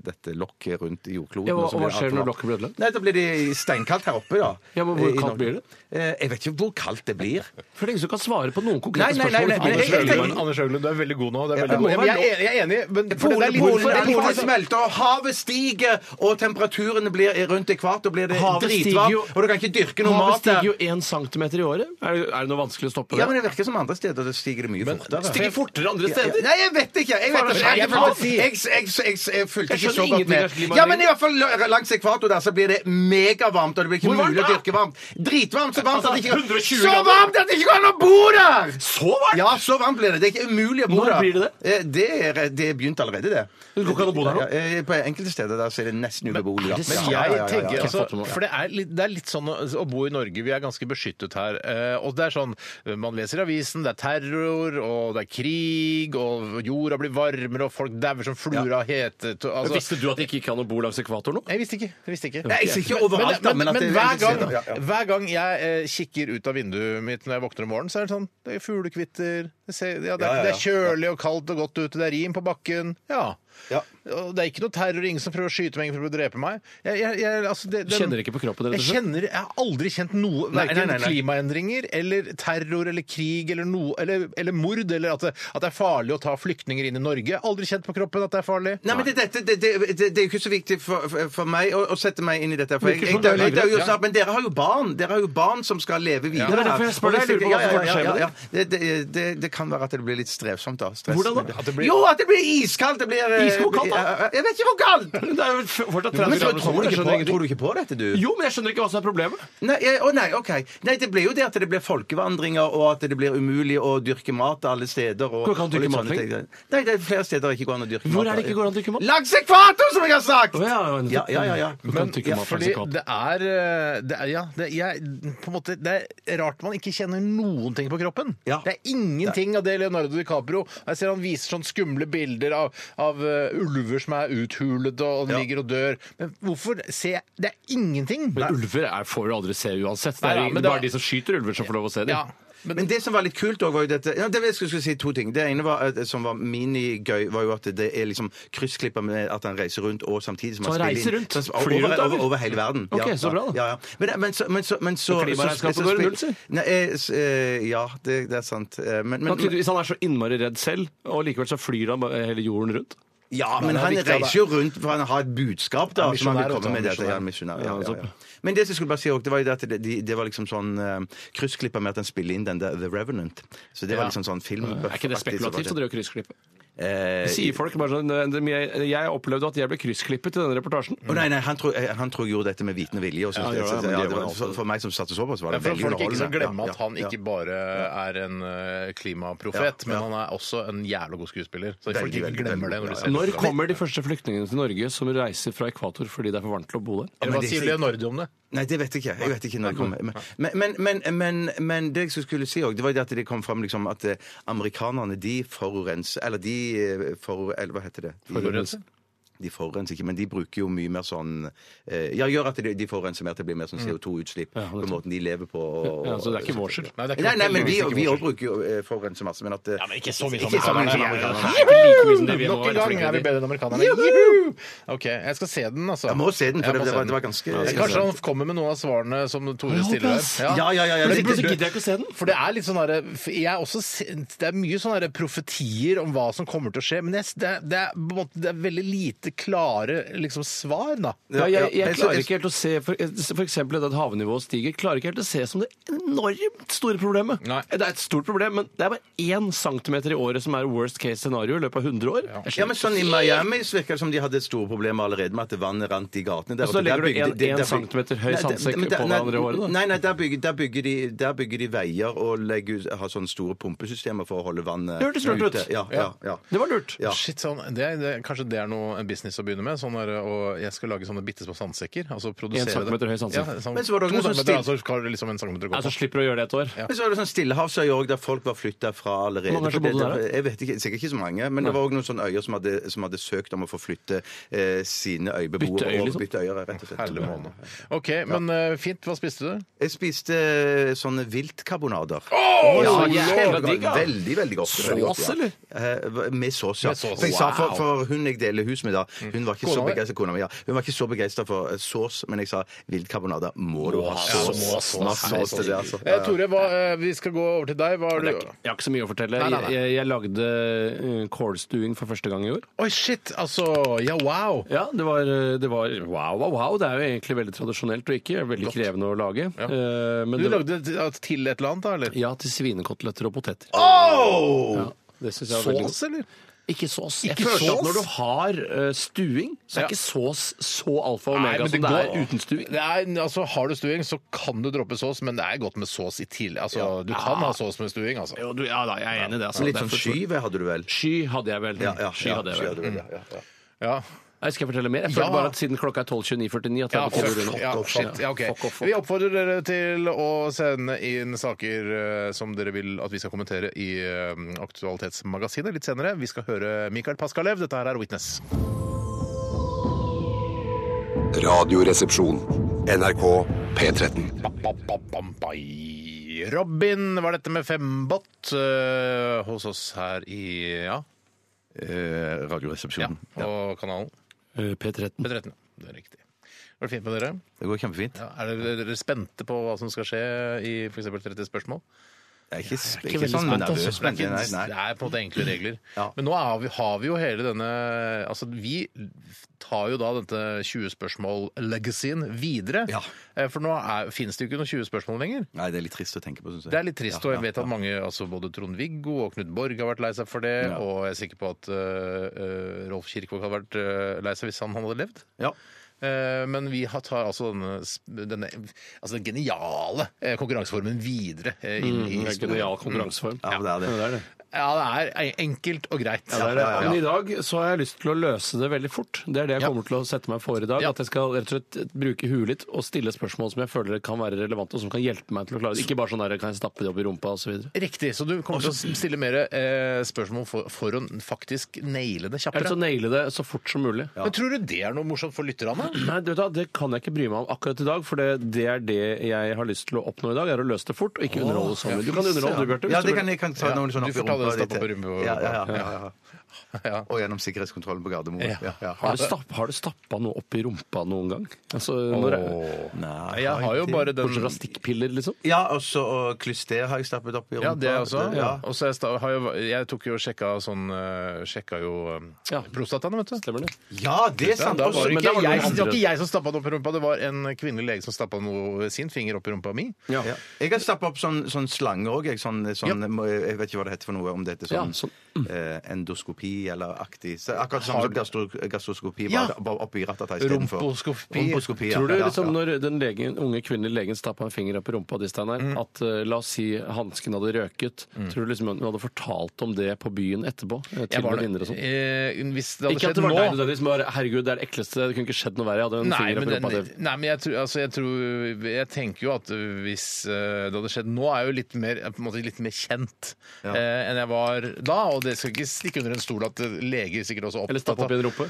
dette lokket rundt jordkloden. Ja, og- og så og blir hva det alt skjer for når varmt. lokket blir ødelagt? Nei, Da blir det steinkaldt her oppe, da. Ja, men hvor Eh, i Norge. kaldt blir det? Eh, jeg vet ikke hvor kaldt det blir. For det er ingen som kan svare på noen Nei, konkrete nei, spørsmål. nei, nei, Anders Jeg- jeg- Høglund, Anders Høglund, du er veldig god nå. Du er veldig Ja, god. men Jeg, jeg, jeg er enig, men for det Polen, er litt- Polen, for det er litt- Polen smelter, og havet stiger, og temperaturen blir rundt ekvator, blir det Havet stiger jo- dritvarmt, og du kan ikke dyrke noe Havet mat der. stiger jo én centimeter i året. Er det, er det noe vanskelig å stoppe Ja, men det? det virker som andre steder, da stiger det mye fortere. Stiger fortere andre Ja, steder? Nei, jeg vet ikke. Jeg, vet, Faen, ikke. jeg, jeg, jeg må jeg, jeg, jeg, jeg, jeg fulgte Jeg ikke så skjønner godt ingenting med. av klimaendringer. Ja, men i hvert fall la- langs ekvator der så blir det megavarmt, og det blir ikke Hvor varmt mulig å da? Altså, dyrke varmt. Dritvarmt. Så varmt at det ikke 120 Så grader. varmt at det ikke går an å bo der! Så varmt! Ja, så varmt blir det. Det er ikke umulig å bo Når der. blir det det? Eh, Det er, det er begynt allerede, det. Det går ikke an å bo der nå? Eh, På enkelte steder der så er det nesten ubeboelig. det ja. Ja, sant? ja, ja, ja, Jeg tenker, ja. altså, for det er, litt, det er litt sånn å, å bo i Norge, vi er ganske beskyttet her. Eh, og det er sånn, Man leser i avisen, det er terror, og det er krig, og jorda blir varmere, og folk dauer som fluer av hete to- altså- Visste du at det ikke gikk an å bo langs ekvator nå? jeg visste ikke. Jeg visste ikke. Nei, jeg sier ikke overalt, da, men, men at det er hver, enkelte gang, steder, ja, ja. hver gang jeg eh, kikker ut av vinduet mitt når jeg våkner om morgenen, så er det sånn Det er fuglekvitter, det, ser, ja, det, er, Ja, ja, det ja. er kjølig og kaldt og godt ute, det er rim på bakken. Ja. Ja. Og det er ikke noe terror, ingen som prøver å skyte meg, ingen som prøver å drepe meg. Jeg, jeg, jeg, altså, det, Du kjenner ikke på kroppen, rett og Jeg slett? kjenner, jeg har aldri kjent noe, Nei, verken nei, nei, nei. klimaendringer eller terror eller krig eller, noe, eller, eller mord, eller at det, at det er farlig å ta flyktninger inn i Norge. Aldri kjent på kroppen at det er farlig. Nei, men det, dette, det, det, det, det er jo ikke så viktig for, for- for meg å, å sette meg inn i dette. For jeg, Virker jeg, som jeg, jeg, det er dør jo greit, snart, men dere har jo barn Dere har jo barn som skal leve videre. Ja, det er derfor jeg spør Og hvis deg. Jeg lurer på ikke- hvorfor det skjer med Det, det, det, det kan være at det blir litt strevsomt, da. Stress. Hvordan da? At det blir... Jo, at det blir iskaldt! Det blir eh, Iskald kaldt, da? Jeg vet ikke hvor kaldt! Det er jo f- fortsatt Men 30 tror, grader tror, sol. du Jeg ikke skjønner på, tror ingenting. du ikke på dette, du? Jo, men jeg skjønner ikke hva som er problemet. Nei, jeg, å nei, OK. Nei, det blir jo det at det blir folkevandringer, og at det blir umulig å dyrke mat alle steder. Og, Hvor kan du og litt dyrke mat, sånne ting. Nei, det er flere steder det ikke går an å dyrke Hvor mat. er det ikke går an å dyrke mat? Langs ekvator, som jeg har sagt! Å, ja, ja, Ja, ja, ja, ja. Du kan Men, trykke ja, mat langs fordi ekvator. det er, eh, det er Ja, det, jeg, på en måte, det er rart man ikke kjenner noen ting på kroppen. Ja. Det er ingenting av det Leonardo DiCaprio Jeg ser han viser sånn skumle bilder av, av eh, ulver som er uthulet og han Ja. ligger og dør. Men hvorfor ser jeg Det er ingenting! Men ulver er, får du aldri se uansett. Det Nei, er ja, men det bare var- de som skyter ulver, som får lov å se dem. Ja, men, Men det som var litt kult òg, var jo dette ja, det jeg skulle skulle si to ting. Det ene var, eh, som var minigøy, var jo at det er liksom kryssklipper med at han reiser rundt, og samtidig som Så han han spiller inn- reiser rundt? Så han- Flyr rundt, over, da, vel? over, over hele verden. Ok, så bra, da. Ja, ja. Men, men så, men så, men så Og klimaregnskapet går i spill- null, si. Nei, eh, s- eh, ja, det, det er sant. Eh, Men, men, Men tydeligvis, han er så innmari redd selv, og likevel så flyr han bare hele jorden rundt. ja, men det er han viktig, da. reiser jo rundt for han har et budskap da, Han er som han misjonær, vil komme vet med. du, han er Dette. Ja, misjonær. misjonær. Ja, Ja, ja, ja. sånn. Men det som jeg skulle bare si også, det var jo det at det, de- det var liksom sånn eh, kryssklipper med at han spiller inn den der The Revenant. Så det var Ja. liksom sånn film. Er ikke det spekulativt å drive og kryssklippe? Eh, Sier folk bare sånn eh, Jeg jeg opplevde at jeg ble kryssklippet i denne reportasjen. Å, nei, nei, han tror, eh, han tror jeg gjorde dette med viten og vilje. Og så, Ja, ja, ja, så- men ja, det det var var, alt. for, for meg som satte såpass, var Ja, det for at veldig folk ikke skal glemme Ja, at han ja, ikke bare er en eh, klimaprofet, men han er også en jævla god skuesspiller. Så folk Veldig, ikke veldig, glemmer det veldig, når de ja, ser Når det. kommer de første flyktningene til Norge som reiser fra ekvator fordi det er for varmt til å bo der? Eller Men hva det- sier Leonardo om det? Nei, det vet jeg ikke. Jeg vet ikke når det kommer. Men, men, men, men, men det jeg skulle si òg, det var det at det kom fram liksom, at eh, amerikanerne de forurenser Eller de eh, for, Eller hva heter det? De- Forurenser? De forurenser ikke, men de bruker jo mye mer sånn eh, Ja, gjør at de, de forurenser mer, at det blir mer sånn CO2-utslipp Ja, på nettopp. måten de lever på. Og, Ja, så det er ikke vår skyld. Nei, det er ikke- Nei, nei, men det vi er ikke vi vår òg bruker jo eh, forurenser masse, men at eh, men ikke så mye som ikke så mye som amerikanerne. amerikanerne. Nok en gang er vi bedre enn amerikanerne. Juhu! OK, jeg skal se den, altså. Jeg må se den, for Jeg må se det, det, var, den. det var ganske Ja, Kanskje han kommer med noen av svarene som Tore Jeg håper stiller ass. her. Ja, ja, ja, ja. Men Det- burde- Så gidder jeg ikke å se den. For det er litt sånn derre Jeg er også se- Det er mye sånne derre profetier om hva som kommer til å skje, men jeg, det, er, det, er, på en måte- det er veldig lite klare liksom, svar, da. Ja, jeg, ja. jeg Men så- klarer ikke helt å se for, for eksempel det at havnivået stiger, klarer ikke helt å se som det enormt store problemet. Nei. Det er et stort problem, men det er bare én centimeter i året som er worst case scenario i løpet av 100 år. Jeg skjønner Ja, men sånn I Miami så virker det som de hadde store problemer allerede med at vannet rant i gatene. Der, Og så oppe. Der legger du bygde- en- der en bygde- centimeter høy Nei, der- sandsekk men der- på nei, hverandre i året, da. Nei, nei, der bygger, der bygger, de, der bygger de veier og legger, ut- har sånne store pumpesystemer for å holde vannet Det hørtes lurt ut. Ja, ja, ja. Det var lurt. Ja. Shit, sånn, det, er- det, kanskje det er noe en business å begynne med? Sånn der, og jeg skal lage sånne bitte små sandsekker. Altså produsere det. centimeter høy sandsekk. Ja, sånn, Men så var det to noen som centimeter, stil- altså, skal liksom en centimeter gå Altså, på. slipper å gjøre det et år. Men så var det sånn Stillehavsøy òg, der folk var flytta fra allerede. Hvor mange som For det- bodde der, da? Jeg vet ikke, Sikkert ikke så mange, men det var òg noen sånne øyer som hadde, som hadde søkt om å få flytte eh, sine øyebeboere Bytte øy, over. liksom? Bytte øyer, rett og slett. Herlig måned. OK, men eh, fint. Hva spiste du? Jeg spiste eh, sånne viltkarbonader. så ja, jævla kjempegodt. digg, ja. Veldig, veldig godt. Sås, veldig godt, ja. eller? Eh, Med sås, ja. Med sås. For, jeg sa for, Wow. for hun jeg deler hus med da, hun var ikke Kona så di? begeistra kona mi, ja. Hun var ikke så begeistra for eh, sås, men jeg sa viltkarbonader må du ha Ja, sås. må ha sås. Må ha sås til det, altså. Eh, Tore, hva, eh, vi skal gå over til deg. Hva har du Jeg har ikke så mye å fortelle. Nei, nei, nei. Jeg, jeg lagde eh, kålstuing for første gang i år. Oi, shit! Altså, ja, wow! Ja, det var, det var wow, wow, wow. Det er jo egentlig veldig tradisjonelt og ikke veldig krevende å lage. Eh, Men Du det var, lagde det til et eller annet, da? eller? ja, til svinekoteletter og poteter. Ja, det synes jeg var veldig godt. Sås, eller? Ikke sås. Jeg Ikke følte sås? at når du har eh, stuing, så er Ja. ikke sås så alfa og omega som det er uten stuing. Det er, altså, har du stuing, så kan du droppe sås, men det er godt med sås i tillegg. Altså, Du kan ha sås med stuing, altså. Jo, du, Ah. ja da, jeg er enig i det. Altså. Litt sånn Derfor så- skyv hadde du vel? Sky hadde jeg vel. Ja, ja, sky ja, hadde jeg vel. vel, ja, ja, ja. Ja. Nei, skal jeg fortelle mer? Jeg føler Ja. bare at siden klokka er 12.29,49 at jeg Ja, er på tur fuck, unna. ja, Fuck off, shit, ja, ok. Fuck off, fuck Vi oppfordrer dere til å sende inn saker eh, som dere vil at vi skal kommentere i eh, Aktualitetsmagasinet litt senere. Vi skal høre Mikael Paskalev. Dette her er Witness. Radioresepsjon. NRK P13. Ba, ba, bam, bai. Robin var dette med fembot eh, hos oss her i ja, Eh, ja, Radioresepsjonen. Ja. og kanalen Eh, P13. P13. Det er riktig. Var det fint med dere? Det går kjempefint. Ja, er dere, dere spente på hva som skal skje i f.eks. 30 spørsmål? Jeg er ikke, jeg er Ikke ikke veldig sånn spent, altså. nervøs. men- Det er Nei, ikke- Det nei. er på en måte enkle regler. Ja. Men nå har vi, har vi jo hele denne Altså, vi tar jo da dette 20 spørsmål-legacyen videre. Ja. Eh, For nå er, finnes det jo ikke noen 20 spørsmål lenger. Nei, det er litt trist å tenke på, syns jeg. Det er litt trist, Ja, og jeg ja, vet at mange, altså både Trond-Viggo og Knut Borg har vært lei seg for det, Ja. og jeg er sikker på at eh, eh, Rolf Kirkvaag hadde vært eh, lei seg hvis han hadde levd. ja. Eh, Men vi har- tar altså denne, sp- denne altså den geniale eh, konkurranseformen videre eh, inn i Det er Mm, en historien. Mm. genial konkurranseform. Ja, det er det. det er det. Ja, det er enkelt og greit. Ja, det er det. ja, ja. Men i dag så har jeg lyst til å løse det veldig fort. Det er det jeg Ja. kommer til å sette meg for i dag. Ja. At jeg skal rett og slett bruke huet litt og stille spørsmål som jeg føler kan være relevante, og som kan hjelpe meg til å klare det. Ikke bare sånn der kan jeg stappe det opp i rumpa osv. Riktig, så du kommer til å stille mer eh, spørsmål for, for å faktisk naile det Jeg har lyst kjappere. til å naile det så fort som mulig. Men tror du det er noe morsomt for lytterne? Nei, du vet da, Det kan jeg ikke bry meg om akkurat i dag, for det, det er det jeg har lyst til å oppnå i dag. er å løse det fort og ikke underholde så mye. Du kan underholde, du, Bjarte. hvis Ja, du det vil. kan jeg kan ta noen sånn Du opp i får ta det rumpa. stopp litt. opp i rumpa. Ja, ja, ja, ja, ja. Og gjennom sikkerhetskontrollen på Gardermoen. Ja. Ja, ja. Har du, stapp, har du stappa noe opp i rumpa noen gang? Altså, når Nei, Jeg har jo bare den Bortsett fra stikkpiller, liksom? Ja, og så og klyster har jeg stappet opp i rumpa. ja, det også. Det- Ja. Og så jeg, sta- har jo, jeg tok jo og sjekka sånn eh, Sjekka jo eh, Ja. prostataen, vet du. Stemmer det? ja, det er sant. Da Også- var det men ikke, da var det jeg, noen det var andre. ikke jeg som stappa den opp i rumpa, det var en kvinnelig lege som stappa noe- sin finger opp i rumpa mi. Ja. Ja. Jeg har stappa opp sånn, sånn slange òg. Jeg, sånn, sånn, jeg vet ikke hva det heter for noe, om det heter Ja, sånn, eh, endoskopi eller aktig så Akkurat sånn mm. Har- som gastro, gastroskopi, Ja. bare, bare oppi ratata istedenfor. Rumposkopi. Rumposkopi, ja. Tror du Ja, liksom ja. når den legen, unge kvinnelige legen stappa en finger opp i rumpa di, Steinar, Mm. at eh, la oss si hansken hadde røket, tror du liksom hun hadde fortalt om det på byen etterpå? eh, Jeg Til var venninner og sånn? eh, hvis det hadde Ikke at skjedd det var nå deg nødvendigvis, men bare, herregud, det er det ekleste, det kunne ikke skjedd noe verre. Jeg hadde en Nei, finger men, opp i rumpa den, di. nei, men jeg, tror, altså, jeg, tror, jeg tenker jo at hvis eh, det hadde skjedd nå, er jeg jo litt mer, eh, på en måte, litt mer kjent eh, enn jeg var da. Og det skal ikke stikke under en stol at eh, leger sikkert også er Eller stappe opp i en rumpe.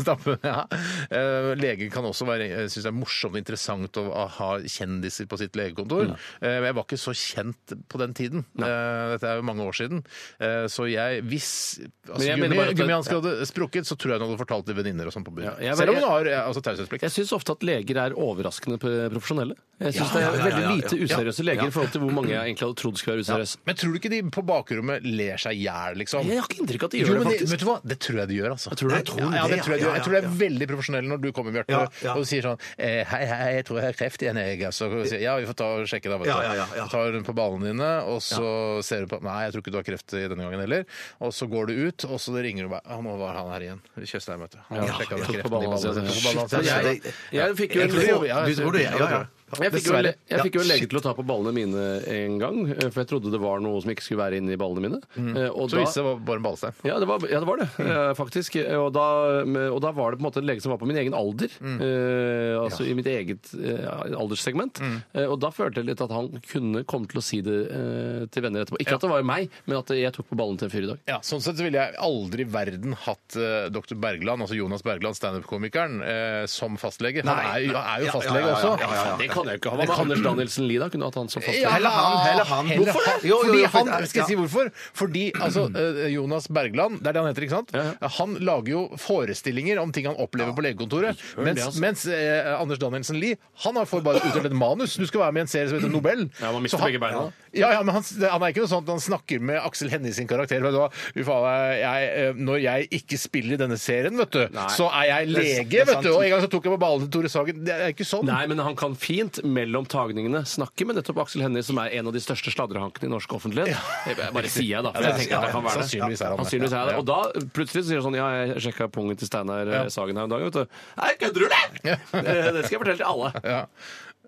Stappe, ja. Eh, Leger kan også være, jeg synes det er morsomt og interessant å ha kjendiser på sitt legekontor. Eh, Men jeg var ikke så kjent på den tiden. Eh, Dette er jo mange år siden. Eh, Så jeg, hvis altså, Men jeg mener bare at- gummihansken hadde sprukket, så tror jeg hun hadde fortalt det venninner og sånn på byen. Ja, jeg- Selv om hun har eh, altså, taushetsplikt. Jeg syns ofte at leger er overraskende p- profesjonelle. Jeg syns ja, ja, det er veldig ja, ja. lite useriøse leger i forhold til hvor mange jeg egentlig hadde trodd skulle være useriøse. Men tror du ikke de på bakrommet ler seg i hjel, liksom. Jeg har ikke inntrykk av at de Jo, gjør det, men det, faktisk. vet du hva? Det tror jeg de gjør, altså. Jeg tror det. ja, ja, det tror jeg de gjør. Jeg tror de er veldig profesjonelle når du kommer, Bjarte, Ja, ja. og du sier sånn eh, Hei, hei, jeg tror jeg har kreft igjen, jeg. Så altså. sier jeg, ja, vi får ta og sjekke, da. Vet du. Ja, ja, ja, ja. Så tar hun på ballene dine, og så ser du på Nei, jeg tror ikke du har kreft i denne gangen heller. Og så går du ut, og så ringer du bare Ja, nå var han her igjen. Tjøstheim, vet du. Han Ja, sjekka jeg tok på kreften i ballene ballene. sine. Jeg tok på ballene Shit, sine. altså, Jeg- det- Jeg fikk jo Jeg en tror det, ja. Du tror det, ja, ja. Jeg fikk, jo, Dessverre. en le- jeg fikk jo en Ja, lege til å ta på ballene mine en gang, eh, for jeg trodde det var noe som ikke skulle være inni ballene mine. Eh, Og Så viste det seg bare en ballstein. ja det, var, ja, det var det, eh, faktisk. Eh, Og da, og da var det på en måte en lege som var på min egen alder. Eh, altså i mitt eget eh, alderssegment. Eh, og da følte jeg litt at han kunne komme til å si det eh, til venner etterpå. Ikke at det var meg, men at jeg tok på ballen til en fyr i dag. Ja, Sånn sett så ville jeg aldri i verden hatt eh, dr. Bergland, altså Jonas Bergland, standup-komikeren, eh, som fastlege. Han er, jo- han er jo fastlege også. Det kan jeg jo ikke ha. Hva med Anders Danielsen Lie, da? Kunne hatt han som fast. Heller han, heller han. hvorfor Hvorfor det? det? Jo, jo, jo, Fordi for- han, skal jeg si ja. hvorfor? Fordi altså, eh, Jonas Bergland, det er det han heter, ikke sant? Ja, ja. Han lager jo forestillinger om ting han opplever på legekontoret. det, Mens, altså. mens eh, Anders Danielsen Lie, han har- får bare utdelt et manus. Du skal være med i en serie som heter Nobel. Ja, man mister Så han- begge beina. Ja, ja, men han, han er ikke noe sånn at han snakker med Aksel Hennie sin karakter. Vet du hva, Fy faen, jeg, eh, når jeg ikke spiller i denne serien, vet du, Nei. så er jeg lege, det er vet du. sant. Og en gang så tok jeg på ballen til Tore Sagen. Det er ikke sånn. Nei, men han kan fint mellom tagningene snakke med nettopp Aksel Hennie, som er en av de største sladrehankene i norsk offentlighet. Det bare sier jeg, da. For Ja, jeg tenker at han kan være det. Sannsynligvis er han det. Sannsynligvis er det. Og da plutselig så sier han sånn Ja, jeg sjekka pungen til Steinar eh, Sagen her en dag, vet du. Nei, kødder du, det?! Eh, Det skal jeg fortelle til alle. Ja.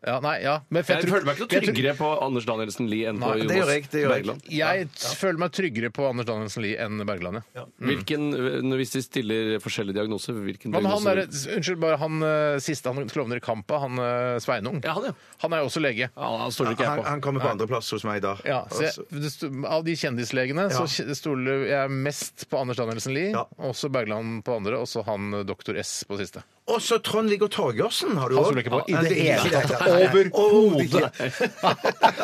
Ja, nei, ja. Men for Jeg tror- føler meg ikke noe jeg tror- tryggere på Anders Danielsen Lie enn på Nei, det gjør jeg, Jonas det gjør jeg. Bergland. Jeg t- føler meg tryggere på Anders Danielsen Lie enn Bergland, ja. Mm. Hvilken, eh, Hvis de stiller forskjellige diagnoser, hvilken Hva med han diagnose der, unnskyld, bare han eh, siste han klovner i Kampa, han eh, Sveinung? Ja, han, ja. Han er jo også lege. Ja, han stoler ikke jeg Han, på. han kommer på andreplass hos meg da. Ja, så Altså- jeg, det sto- av de kjendislegene så kj- stoler jeg mest på Anders Danielsen Lie, Ja. også Bergland på andre, og så han eh, doktor S på siste. Og så Trond-Viggo Torgersen har du Han også. stoler ikke på i Ja, det hele ikke- tatt. Nei, nei, nei. Overhodet!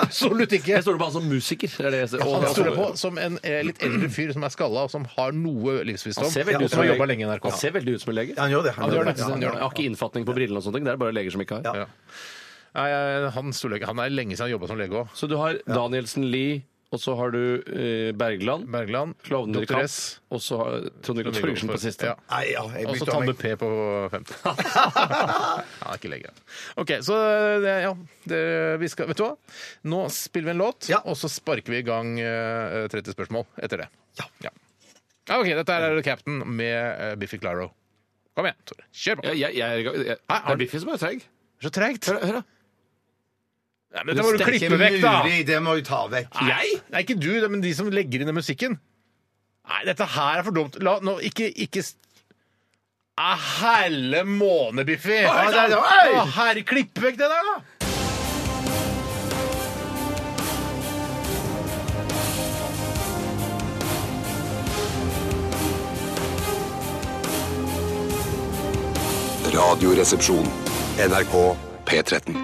Absolutt ikke! Jeg stoler på han som musiker. Det er det jeg ser. Han Og- stoler på som en eh, litt eldre fyr som er skalla, og som har noe livsvisdom. Han ser veldig og ut som som en har lege. jobba lenge i NRK. Han ser veldig ut som en lege. Han gjør det. Han gjør det. Ja, han gjør det. Jeg har ikke innfatning på brillene og sånne ting. Det er bare leger som ikke har. Ja. Nei, jeg- han stoler ikke. Han er lenge siden han jobba som lege òg. Så du har Danielsen Lie, og så har du eh, Bergland. Bergland. Klovner i Dr. kamp. S. Og så har Trond-Viggo Torgersen på siste. Ja. Nei, ja, jeg Og så bytter om, Tande jeg. P på fem. Han er ikke lege. OK, så det, ja det, vi skal, Vet du hva? Nå spiller vi en låt, Ja. og så sparker vi i gang eh, 30 spørsmål etter det. Ja. ja. OK, dette er Captain med eh, Biffy Claro. Kom igjen, Tore. Kjør på. Ja, jeg, jeg, er i gang. Hæ, jeg, det har er du- Biffy som er treig. Så tregt. Hør, hør, da. Nei, men dette må du klippe vekk, da! Mulig, det må du ta vekk. Jeg? Nei, ikke du, det- men de som legger inn den musikken. Nei, dette her er for dumt. La nå ikke, ikke s- Ah, helle måne, Biffi! Oi, Ah, det- oi! Å, Herre, klipp vekk det der, da! Radioresepsjon. NRK P13.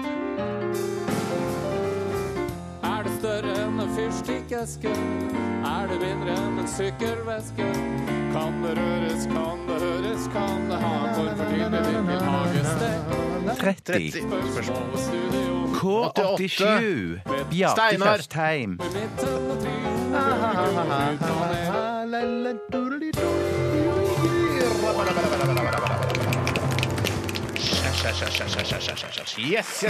Er det større enn en fyrstikkeske? Er det mindre enn en sykkelveske? Kan det røres, kan det høres, kan det ha en form for tilknytning til hagested? 30 spørsmål. Spørsmål og studio K87. Bjarte Steinar. Tjøstheim. i midten og trynet. Yes, yes, yes, yes, yes, yes,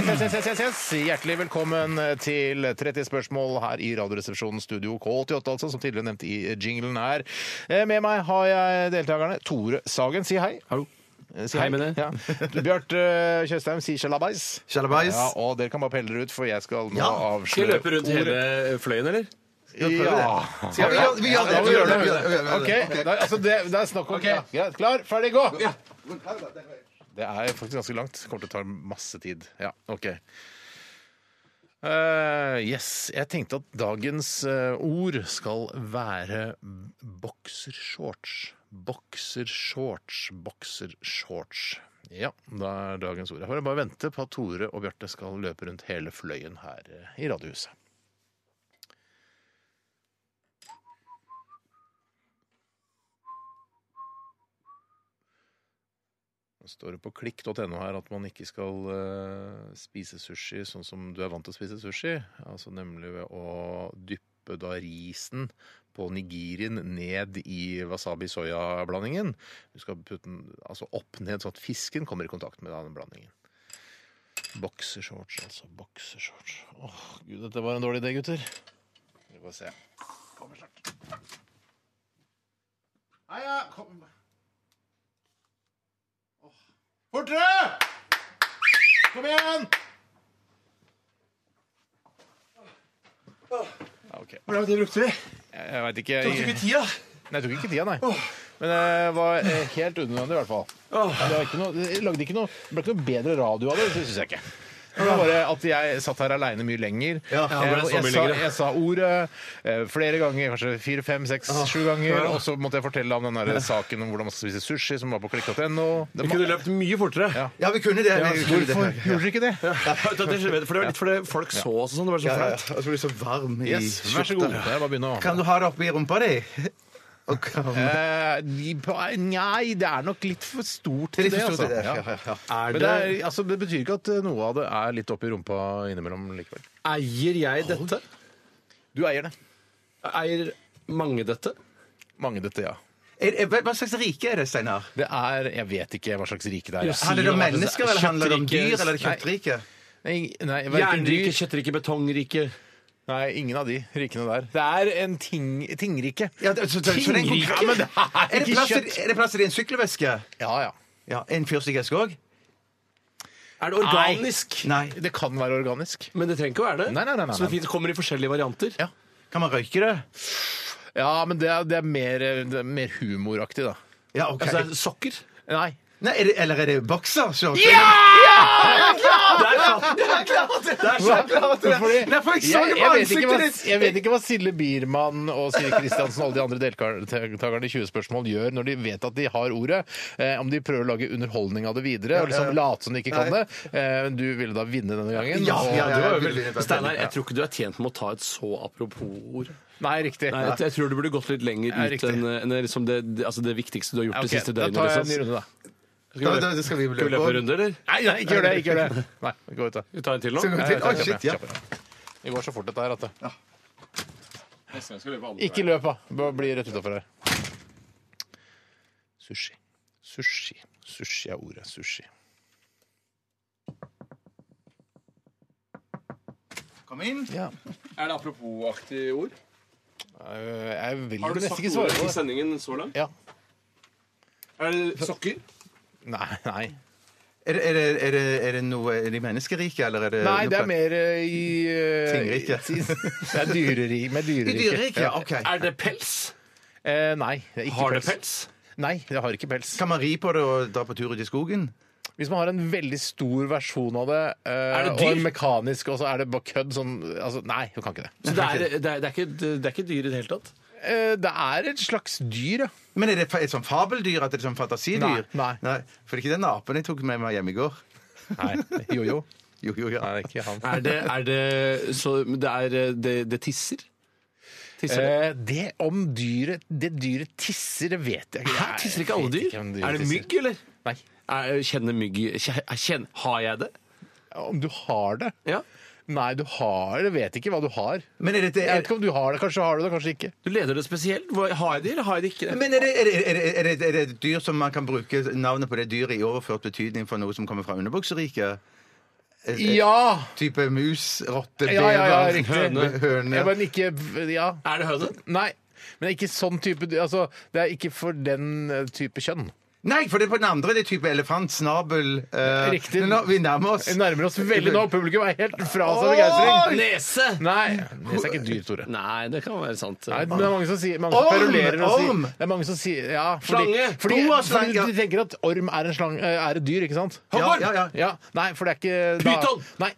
yes. Hjertelig velkommen eh, til 30 spørsmål her i Radioresepsjonen Studio K88, altså, som tidligere nevnt i jinglen her. Eh, Med meg har jeg deltakerne. Tore Sagen, si hei. Hallo. Eh, Si Hei med det. Ja. Bjarte eh, Tjøstheim, si sjalabais. Sjalabais. Ja, og dere kan bare pelle dere ut, for jeg skal nå Ja. Skal jeg avsløre løpe rundt hele fløyen, eller? Ja. Ja, vi gjør- vi gjør det, Ja, vi gjør vi gjør det, vi gjør det, vi gjør det. det. Ok, det er, altså det, det er snakk om ja, Greit, klar, ferdig, gå! Det er faktisk ganske langt. Kommer til å ta masse tid. Ja, OK. Eh, yes. Jeg tenkte at dagens eh, ord skal være boksershorts. Boksershorts, boksershorts. Ja, da er dagens ord. Jeg får bare vente på at Tore og Bjarte skal løpe rundt hele fløyen her eh, i Radiohuset. Det står det på klikk.no her at man ikke skal eh, spise sushi sånn som du er vant til å spise sushi. Altså nemlig ved å dyppe dampe da risen på nigirien ned i wasabi-soya-blandingen. Du skal putte den altså opp ned, sånn at fisken kommer i kontakt med den blandingen. Boksershorts, altså. Boksershorts. Åh, gud, dette var en dårlig idé, gutter. Vi får se. Kommer snart. Heia, kom. Fortere! Kom igjen! Ok. Hvor lang tid brukte vi? Jeg, jeg veit ikke. Tok Jeg, ikke tida? nei, jeg tok ikke tida, nei. Men det var eh, helt unødvendig, i hvert fall. Det, var ikke noe, det, lagde ikke noe, det ble ikke noe bedre radio av det, det syns jeg ikke. Det var bare at jeg satt her aleine mye lenger. Ja, Eh, det ble og så mye jeg, sa, lenger. jeg sa ordet eh, flere ganger, kanskje fire, fem, seks, sju ganger. Og så måtte jeg fortelle om den der saken om hvordan man skal spise sushi, som var på klikk.no. Det Vi må- kunne løpt mye fortere. Ja. Ja, vi kunne det. Ja, vi kunne det. Hvorfor gjorde dere ikke det? For det var litt fordi folk så oss og sånn. Det var så Ja, ja. flaut. Og så blir du så varm i Yes, vær så god. Det er bare å begynne å Kan du ha det oppi rumpa di? Og kan... Eh, de- på- Nei, det er nok litt for stort til Det er litt det, for stort altså. til det, ja, Ja. ja, ja. Er Men det, er, altså, det betyr ikke at eh, noe av det er litt oppi rumpa innimellom likevel. Eier jeg dette? Du eier det. Eier mange dette? Mange dette, ja. Er, er, hva slags rike er det, Steinar? Det er Jeg vet ikke hva slags rike det er. jeg. Handler det om mennesker, eller handler det om dyr, eller er det kjøttrike? Nei, nei, hverken Jernrike, dyr- kjøttrike, betongrike. Nei, ingen av de rikene der. Det er en ting, tingrike. Ja, det- så- så- så det er en Tingrike? Ja, men det er Er det ikke plass, kjøtt. til- er det plass til en sykkelveske? Ja, ja. Ja, En fyrstikkeske òg? Er det organisk? Nei. Det kan være organisk. Men det trenger ikke å være det. Nei, nei, nei, nei, Så det fint kommer i forskjellige varianter. Ja. Kan man røyke det? Ja, men det er, det er, mer, det er mer humoraktig, da. Ja, ok. Altså, det er sokker. Nei. Nei, er det, eller er det bokser? Så, Fordi- Nei, for jeg så jeg, jeg, vet det på ikke ansiktet hva, ditt. jeg vet ikke hva Silje Biermann og Siri Kristiansen og alle de andre deltakerne i 20 spørsmål gjør når de vet at de har ordet. Eh, om de prøver å lage underholdning av det videre og liksom late som de ikke kan det. Eh, men du ville da vinne denne gangen. Ja, og- ja, ja, Det var jo jeg veldig- ville- Steinar, jeg tror ikke du er tjent med å ta et så apropos-ord. Nei, riktig. Nei, jeg, jeg tror du burde gått litt lenger Ja, ut riktig. enn enn det, liksom det, det- altså det viktigste du har gjort Ok, det siste da døgnet. tar jeg en ny liksom. runde, da. Da, da, da skal vi Skal vi løpe en runde, eller? Nei, nei, ikke gjør det. ikke gjør det. Nei, gå ut, da. Vi tar en til nå. Skal vi gå til? Oi, shit, ja. Det går så fort, dette her. At det. Ikke løp, da. Bare bli rett utafor her. Sushi. Sushi. Sushi er ordet. Sushi. Kom inn. Ja. Er det apropos-aktige ord? Eh, Jeg vil jo nesten ikke svare på det. sendingen så langt? Ja. Er det sokker? Nei, nei. Er det, er, det, er, det, er det noe Er de menneskerike, eller er det Nei, noe- det er mer eh, i eh, Tingrike. i- Det er dyreri, med I dyrerike. dyrerike? Ja, OK. Er det pels? Eh, nei, det er ikke Har det pels? Nei, det har ikke pels. Kan man ri på det og dra på tur ut i skogen? Hvis man har en veldig stor versjon av det, eh, det og en dyr? mekanisk, og så er det bare kødd sånn altså, Nei, du kan ikke det. Så det er, det, er, det, er ikke, det er ikke dyr i det hele tatt? Eh, det er et slags dyr, ja. Men er det fa- et sånn fabeldyr? At det er sånn fantasidyr? Nei, nei. For det er ikke den apen jeg tok med meg hjem i går. Nei, jojo. Jo, jo, ja. Nei, det er ikke han. Er det, er det, så det, er, det, det tisser? Tisser det? Eh, det om dyret Det dyret tisser, det vet jeg ikke. Hæ, Eh, tisser ikke alle Jeg vet dyr? om dyret Er det tisser. mygg, eller? Nei. Er, kjenner mygg kje- kjen, Har jeg det? Om du har det? Ja. Nei, du har det. Vet ikke hva du har. Men er det, Jeg vet er, ikke om du har det. Kanskje har du det, kanskje ikke. Du leder det spesielt. Hva- Har jeg det, eller har jeg det ikke? men er det, er, det, er, det, er, det, er det et dyr som man kan bruke navnet på det dyret i overført betydning for noe som kommer fra underbukseriket? Er- er- Ja! Type mus, rotte, Ja, ja, ja, bever, riktig. høne, høne. Jeg bare ikke Ja. Er det høne? Nei. Men ikke sånn type Altså, det er ikke for den eh, type kjønn. Nei, for det er på den andre det er type elefant, snabel eh, Riktig. men Nå, vi nærmer oss. Vi nærmer oss veldig nå. Publikum er helt fra seg av Åh, begeistring. Nese! Nei. Det er ikke dyr, Tore. Nei, det kan være sant. Nei, men det er mange som sier mange som Orm! perulerer og sier Orm! Det er mange som sier Ja. Slange! Fordi, To av fordi, slanger! fordi de tenker at orm er, en slang, eh, er et dyr, ikke sant? Ja, ja, ja. Ja, Nei, for det er ikke da- Pyton! Nei,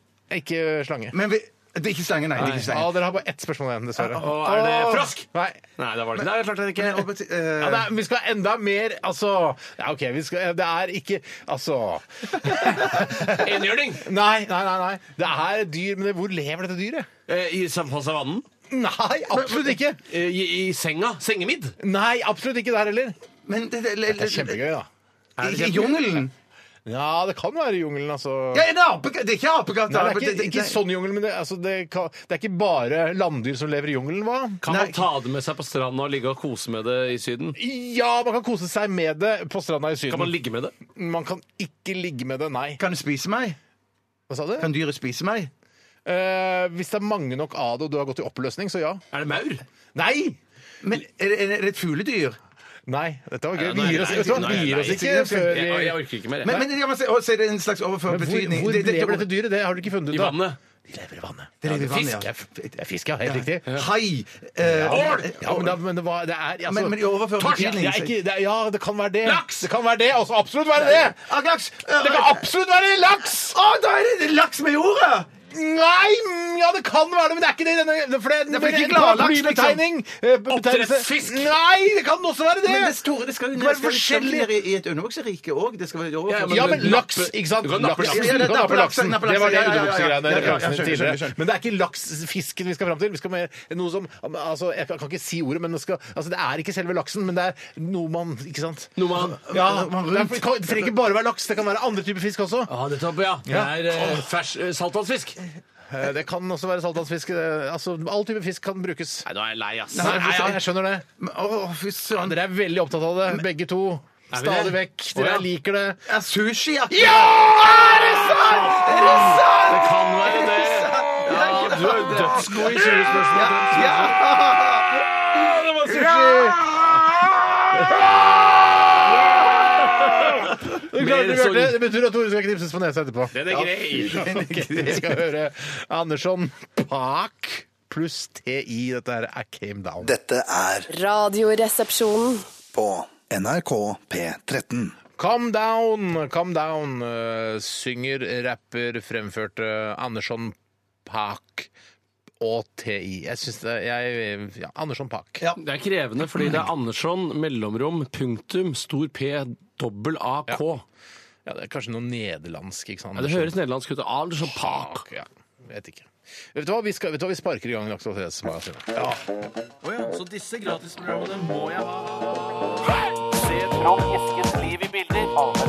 ikke slange. Men vi, det er ikke slange, nei. Det er ikke Ja, slange. dere har bare ett spørsmål igjen, dessverre. Åh, er det Åh! frosk? Nei. Nei, det var det ikke. Nei, det er klart det ikke. Men, Robert, eh, Ja, det er, vi skal enda mer Altså Ja, OK, vi skal Det er ikke Altså Enhjørning! Nei, nei, nei. nei. Det er et dyr, men det- hvor lever dette dyret? Eh, I sam- på savannen? Nei, absolutt ikke! Eh, I, I senga? Sengemidd? Nei, absolutt ikke der heller. men det, det, det, Det er kjempegøy, da. I, I jungelen? Ja, det kan være jungelen, altså. Ja, en apekatt! Det er ikke apekatt! Nei, det er ikke, ikke sånn jungel, men det, altså, det, kan, det er ikke bare landdyr som lever i jungelen, hva? Kan Nei. man ta det med seg på stranda og ligge og kose med det i Syden? Ja, man kan kose seg med det på stranda i Syden. Kan man ligge med det? Man kan ikke ligge med det, nei. Kan det spise meg? Hva sa du? Kan dyret spise meg? Eh, hvis det er mange nok av det, og du har gått i oppløsning, så ja. Er det maur? Nei! Men er det, er det et fugledyr? Nei, dette var gøy. Nei, Vi nei, gir oss, nei, vet du hva? nei, Vi gir nei, oss nei, ikke før vi Jeg, jeg orker ikke mer. Men, men ja, men, se- å, så er det en slags overført Men hvor, betydning hvor Det- det- lever dette dyret? Det har du ikke funnet ut I av. vannet. De lever i vannet. Det lever i vann, ja. Det er fisk, ja. Det er fisk, ja. Helt riktig. Hai! eh, Ja, men, da, men det, var, det er altså, Men- men i overført Torsk, betydning, Det er så- ikke, det er, ja, det kan være det. Laks! Det kan være det, altså absolutt være det! Laks! Det kan absolutt være laks! Å, Eh, ah, da er det laks med i ordet! Nei, mm, ja, det kan være det, men det er ikke det. i Denne, for det, Det er for ikke en gladlaks, paraplybetegning, eh, betegnelse. Oppdrettsfisk! Nei, det kan også være det! Men det store, det skal jo Det kan ned være skal jo forskjellig. ned i- i et underbukserike òg. Det skal være Ja, overført Ja, men men laks, nappe- ikke sant? du kan nappe Laks. laksen. Ja, du kan nappe laksen. Nappe Det var det laksen, ja, ja, ja, underbuksegreiene ja, ja, ja, referansen skjønner, tidligere. skjønner, skjønner. Men det er ikke laksfisken vi skal fram til. Vi skal med noe som altså, Jeg kan ikke si ordet, men det, skal, altså, det er ikke selve laksen, men det er noe man Ikke sant? Noe man- ja, man det, rundt. er, det kan- det trenger ikke bare være laks, det kan være andre typer fisk også. Ja, Ah, det tar på, ja. Det Ja. er eh, fers, eh, saltvannsfisk. Nei, Eh, Det kan også være saltvannsfisk. eh, Altså, all type fisk kan brukes. nå er jeg lei, ass. Nei, ja, jeg skjønner det. Men, Å, fy søren. Dere er veldig opptatt av det, begge to. vi det? Stadig vekk. Dere Å, ja. liker det. Er sushi akkurat? Er det sant?! Det kan være det. Ja, du er jo dødsgod i 20 spørsmål. Ja, det var sushi! Du klarte det, Bjarte. Det betyr at Tore skal knipses på nesa etterpå. Den er grei. Ok, Vi skal høre Andersson Pak pluss TI. Dette her er Came Down. Dette er Radioresepsjonen. på NRK P13. Come Down, Come Down eh, synger, rapper, fremførte Andersson Pak og TI. Jeg syns det jeg, ja, Andersson Pak. Det er krevende fordi det er Andersson, mellomrom, punktum, stor P, dobbel AK. Ja, det er kanskje noe nederlandsk, ikke sant? Ja, det høres nederlandsk ut. Andersson Pak. Pak, ja. Vet ikke. Vet du hva, vi, skal, vet du hva? vi sparker i gang Aktualitetsmagasinet. Så disse gratisprogrammene må jeg ha. Se Trond Eskens liv i bilder.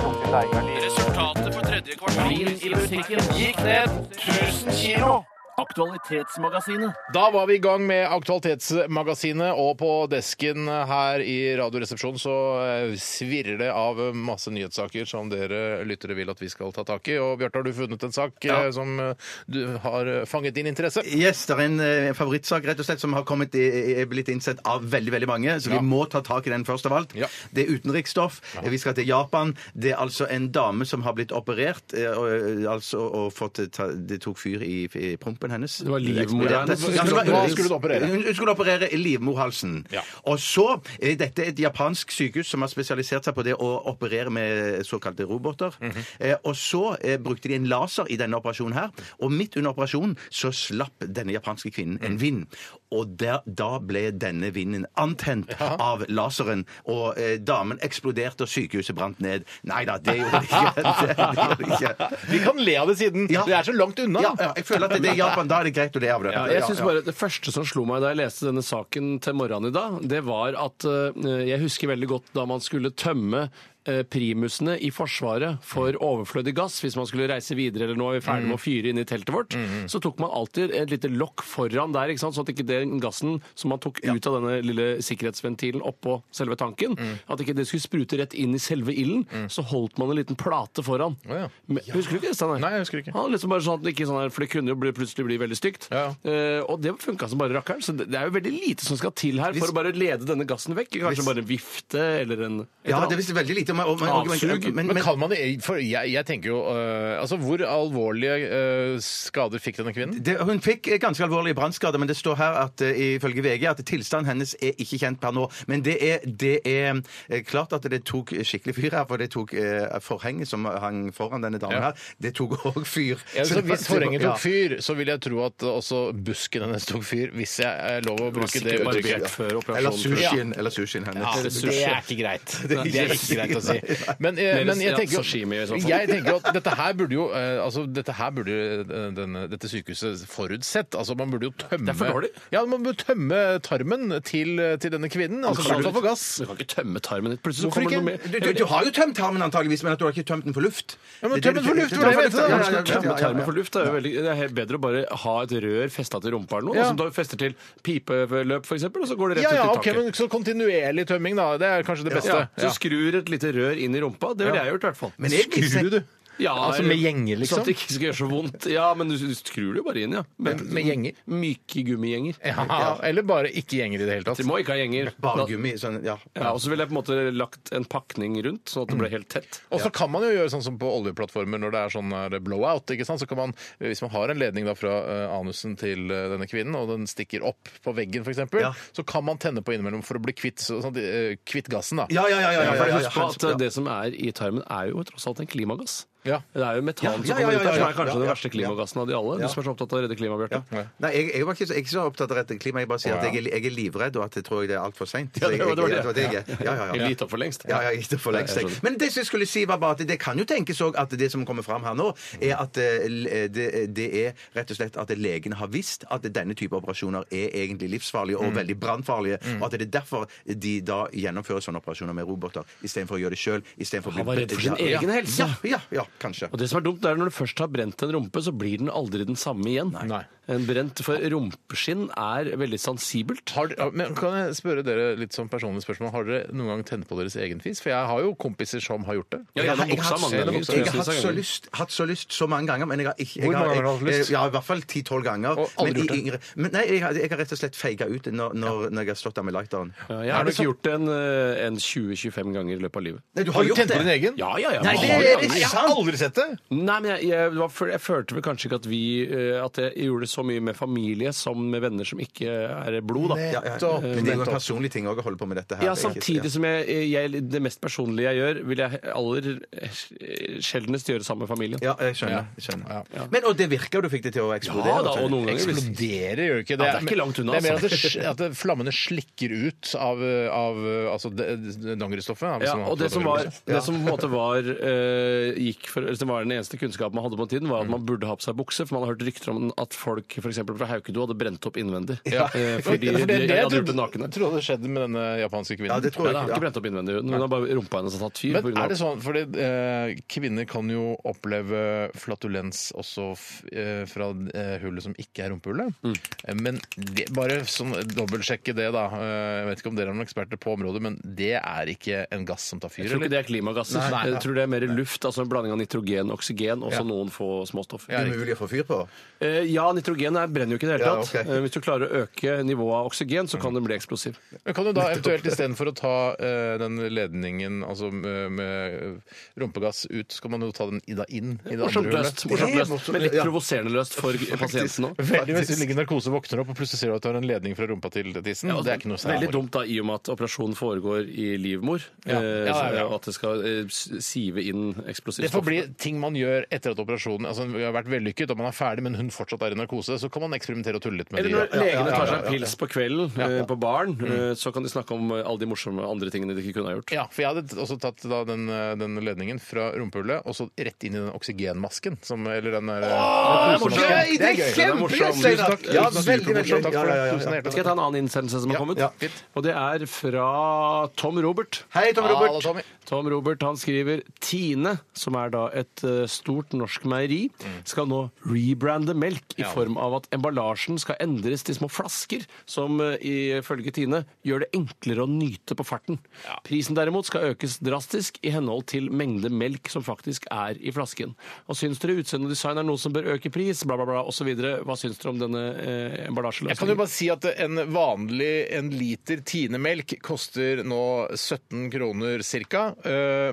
Resultatet på tredje kvartal i musikken gikk ned 1000 kilo. Aktualitetsmagasinet. Da var vi i gang med Aktualitetsmagasinet, og på desken her i Radioresepsjonen så eh, svirrer det av masse nyhetssaker som dere lyttere vil at vi skal ta tak i. Og Bjarte, har du funnet en sak eh, som eh, du har eh, fanget din interesse? Yes, det er en eh, favorittsak rett og slett som har kommet i, i- er blitt innsett av veldig veldig mange, så vi må ta tak i den først av alt. Ja. Det er utenriksstoff. Vi skal til Japan. Det er altså en dame som har blitt operert eh, og, eh, altså, og fått eh, ta, Det tok fyr i, i prompen hennes. var livmora Det eksploderte. hennes som Ja, skulle hun opereres. Hva skulle du var- operere? Hun hun skulle operere livmorhalsen. Ja. Og så eh, Dette er et japansk sykehus som har spesialisert seg på det å operere med såkalte roboter. Mhm. eh, og så eh, brukte de en laser i denne operasjonen her, og midt under operasjonen så slapp denne japanske kvinnen Mhm. en vind. Og der, da ble denne vinden antent av laseren, og eh, damen eksploderte, og sykehuset brant ned. Nei da, det gjorde det ikke. Det, det gjorde det ikke. Vi kan le av det siden. Ja. Det er så langt unna. Ja, ja, jeg føler at det er Japan, da er det greit å le av det. Ja, jeg Ja, synes ja. bare at Det første som slo meg da jeg leste denne saken til morgenen i dag, det var at eh, jeg husker veldig godt da man skulle tømme eh, primusene i Forsvaret for overflødig gass. Hvis man skulle reise videre eller nå er vi ferdig Mm. med å fyre inn i teltet vårt, så tok man alltid et lite lokk foran der, ikke sant? sånn at ikke den gassen som man tok ut av denne lille sikkerhetsventilen oppå selve tanken, Mm. at ikke det skulle sprute rett inn i selve ilden, så holdt man en liten plate foran. ja. Men- Husker du ikke det, Steinar? Nei, jeg husker ikke. Han liksom bare sånn at det ikke sånn her, for det kunne jo bli, plutselig bli veldig stygt. Ja. Eh, og det funka som bare rakkeren, så det, det er jo veldig lite som skal til her for å bare lede denne gassen vekk. Kanskje Hvis- bare en vifte eller en et Ja, eller det annet. visste veldig lite om om- om- om- Avsug. men- Men, kan man for jeg, jeg tenker jo eh, Altså, hvor alvorlige eh, skader fikk denne kvinnen? det, hun fikk ganske alvorlige brannskader, men det står her at, eh, ifølge VG at tilstanden hennes er ikke kjent per nå. Men det er, det er eh, klart at det tok skikkelig fyr her, for det tok eh, forhenget som hang foran denne damen Ja. her, det tok òg fyr. Ja, så Så det var- hvis forhenget ja. tok fyr, så vil jeg tro at også busken hennes tok fyr, hvis jeg er lov å var bruke det sikkert uttrykket. barbert før Eller operasjonen. sushien, eller sushien hennes. Ja, Det er det sushi. er ikke greit. Det er ikke greit å å si. Men, eh, Mer men jeg ja, tenker sashimi i jo så fall. jeg tenker jo at dette her burde jo eh, altså dette her burde eh, denne, dette sykehuset forutsett. altså Man burde jo tømme Det er for dårlig. Ja, man burde tømme tarmen til, til denne kvinnen. altså Kan Slutta du- for gass. Du kan ikke tømme tarmen din. Plutselig så Hvorfor kommer det ikke? noe Du, mer. du, du har jo tømt tarmen antageligvis, men at du har ikke tømt den for luft. Ja, men Det er tømt det den for du- luft, Ja, hvor er for det luft, ja, ja, vet ja, du? ja, Tømme ja, ja, ja. tarmen for luft det er jo veldig, det er helt bedre å bare ha et rør festa til rumpa eller noe, Ja. som du fester til pipeløp f.eks., og så går det rett Ja, ja, ut i ok, taket. men Så kontinuerlig tømming, da. Det er kanskje det beste. ja, så skrur et lite rør inn i rumpa. Det ville jeg gjort, i hvert fall. Men jeg Skrur du? Ja, Altså, med gjenger, liksom? Så at det ikke skal gjøre så vondt. Ja, men du du skrur det jo bare inn, ja. sånn Med- med gjenger? Myke gummigjenger. Ja, eller bare ikke gjenger i det hele tatt. De må ikke ha gjenger. Bare gummi. Sånn, ja. Ja, og så ville jeg på en måte lagt en pakning rundt, sånn at det ble helt tett. Og så kan man jo gjøre sånn som på oljeplattformer når det er sånn eh, blowout. ikke sant? Så kan man, eh, Hvis man har en ledning da fra eh, anusen til eh, denne kvinnen, og den stikker opp på veggen f.eks., eksempel, Ja. så kan man tenne på innimellom for å bli kvitt, så- sånn, at, eh, kvitt gassen. da. Ja, ja, ja, ja, ja, Ja, ja, for ja, Husk på at ja. det som er i tarmen, er jo tross alt en klimagass. Ja. Det er jo metan som Ja, ja, ja, kommer ut der, som ja, er ja, kanskje den ja. verste klimagassen av de alle. Du som er så opptatt av å redde klimaet, Bjarte. Ja. Nei, jeg, jeg var ikke så, jeg er ikke så opptatt av rett klima. Jeg bare sier at jeg, er- jeg er livredd, og at jeg tror jeg det er altfor seint. Ja, det var- det var det. Ja, ja, Jeg ja. gitt opp for lengst. Ja, ja, ikke for lengst. jeg. Men det som jeg skulle si var bare at det kan jo tenkes også at det som kommer fram her nå, er at eh, l- det, det er rett og slett at legene har visst at denne type operasjoner er egentlig livsfarlige Mm. og veldig brannfarlige, og at det er derfor de da gjennomfører sånne operasjoner med roboter istedenfor å gjøre det sjøl. Han var redd for sin egen helse. Ja, ja, ja, kanskje. Og det som er dumt, det er når du først har brent en rumpe, så blir den aldri den samme igjen. Nei. En brent for rumpeskinn er veldig sensibelt. Har, ja, men kan jeg spørre dere litt sånn personlig spørsmål? Har dere noen gang tent på deres egen fis? For jeg har jo kompiser som har gjort det. Ja, Jeg gjennom har, jeg, buksa har, mange jeg, ganger. har, hatt så lyst, hatt så lyst så mange ganger, men jeg har ikke jeg Hvor mange ganger har du hatt jeg- lyst? Ja, I hvert fall 10-12 ganger. Og aldri men i gjort det? yngre- Men nei, jeg, har- jeg har rett og slett feiga ut når, når, når jeg har slått av med lighteren. Ja, Jeg har nok gjort det en, eh, en 20-25 ganger i løpet av livet. Nei, du Har du tent på din egen? Ja, ja, ja. Nei, mange det er ganger. ikke Jeg har sant. aldri sett det! Nei, men jeg, jeg, det var, før- jeg følte vel kanskje ikke at vi eh, At jeg gjorde det så mye med familie som med venner som ikke er blod, da. Ja, ja. Nettopp, Men det er jo en personlig ting også å holde på med dette her. Ja, Det er ikke- samtidig som jeg, jeg Det mest personlige jeg gjør, vil jeg aller eh, sjeldnest gjøre sammen med familien. Ja, jeg skjønner. Jeg skjønner. Men, og det virker jo du fikk det til å eksplodere. altså. Ja da, og noen ganger hvis- Eksploderer gjør det ikke. Ja, det er ikke langt unna, altså. Det er mer at, det, sj- at det, flammene slikker ut av, av altså, det- det- dangeristoffet. da, hvis Ja, man har og det som var, dangeristoff. det som på en måte var, eh, gikk for, eller som var den eneste kunnskapen man hadde på den tiden, var at man burde ha på seg bukse, for man har hørt rykter om at folk for eksempel fra Haukedo hadde brent opp innvendig. ja. eh, Fordi Ja, de for det, er det jeg hadde gjort det trodde, nakne. trodde det skjedde med denne japanske kvinnen. Ja, det tror Nei, jeg det har ikke. ikke brent opp innvendig. Hun har bare rumpa hennes har tatt fyr. på Men grunn av- er det sånn, fordi eh, kvinner kan jo oppleve flatulens også f, eh, fra eh, hullet som ikke er rumpehullet. Mm. Eh, Men det, bare sånn, dobbeltsjekke det, da. Eh, jeg vet ikke om dere er noen eksperter på området, men det er ikke en gass som tar fyr, Jeg tror ikke eller? det er klimagasser. Nei, nei. Jeg tror det er mer luft, altså en blanding av nitrogen og oksygen, og så Ja. noen få småstoff. Ja, riktig. Umulig å få fyr på. Eh, ja, nitrogen er, brenner jo ikke i det hele Ja, tatt. ok. Eh, Hvis du klarer å øke nivået av oksygen, så Mm. kan den bli eksplosiv. Men kan du da eventuelt istedenfor å ta eh, den ledningen altså med, med rumpegass ut, så kan man jo ta den i, da inn i det Morsomt andre løst. hullet? Morsomt Det er løst. morsomt, Men litt ja. provoserende løst for pasienten òg. Veldig Hvis du ligger i narkose og våkner opp, og plutselig ser du at du har en ledning fra rumpa til tissen. Ja, og det er ikke noe særlig. Veldig dumt da, i og med at operasjonen foregår i livmor, Ja. eh, Ja, ja, ja. og at det skal eh, s- sive inn eksplosivt Det får bli ting man gjør etter at operasjonen altså vi har vært vellykket og man er ferdig, men hun fortsatt er i narkose. Så kan man eksperimentere og tulle litt med Eller de. når da. legene tar seg en pils på kvelden eh, på baren, eh, så kan de snakke om eh, alle de morsomme andre tingene de ikke kunne ha gjort. Ja, for jeg hadde også tatt da den, eh, den ledningen fra rumpehullet og så rett inn i den oksygenmasken. Som, eller den der eh, narkosemasken. Gøy, det er morsomt. kjempegøy, Tusen Steinar! takk. Ja, Tusen veldig, veldig supermorsomt. gøy. Takk Ja, for det. ja, Tusen ja, ja. hjertelig Skal jeg ta en annen innsendelse som har kommet? ja, fint. Og det er fra Tom Robert. Hei, Tom Ha det, Robert. Tommy. Tom Robert han skriver Tine, som er da et eh, stort norsk meieri, Mm. skal nå rebrande melk i form av at emballasjen skal endres til små flasker, som eh, ifølge Tine gjør det enklere å nyte på farten. Prisen derimot skal økes drastisk i henhold til mengde melk som faktisk er i flasken. Og syns dere utseende og design er noe som bør øke pris, bla, bla, bla, osv. Hva syns dere om denne eh, Jeg kan jo emballasjeløsningen? bare si at en vanlig en liter tinemelk koster nå 17 kroner ca.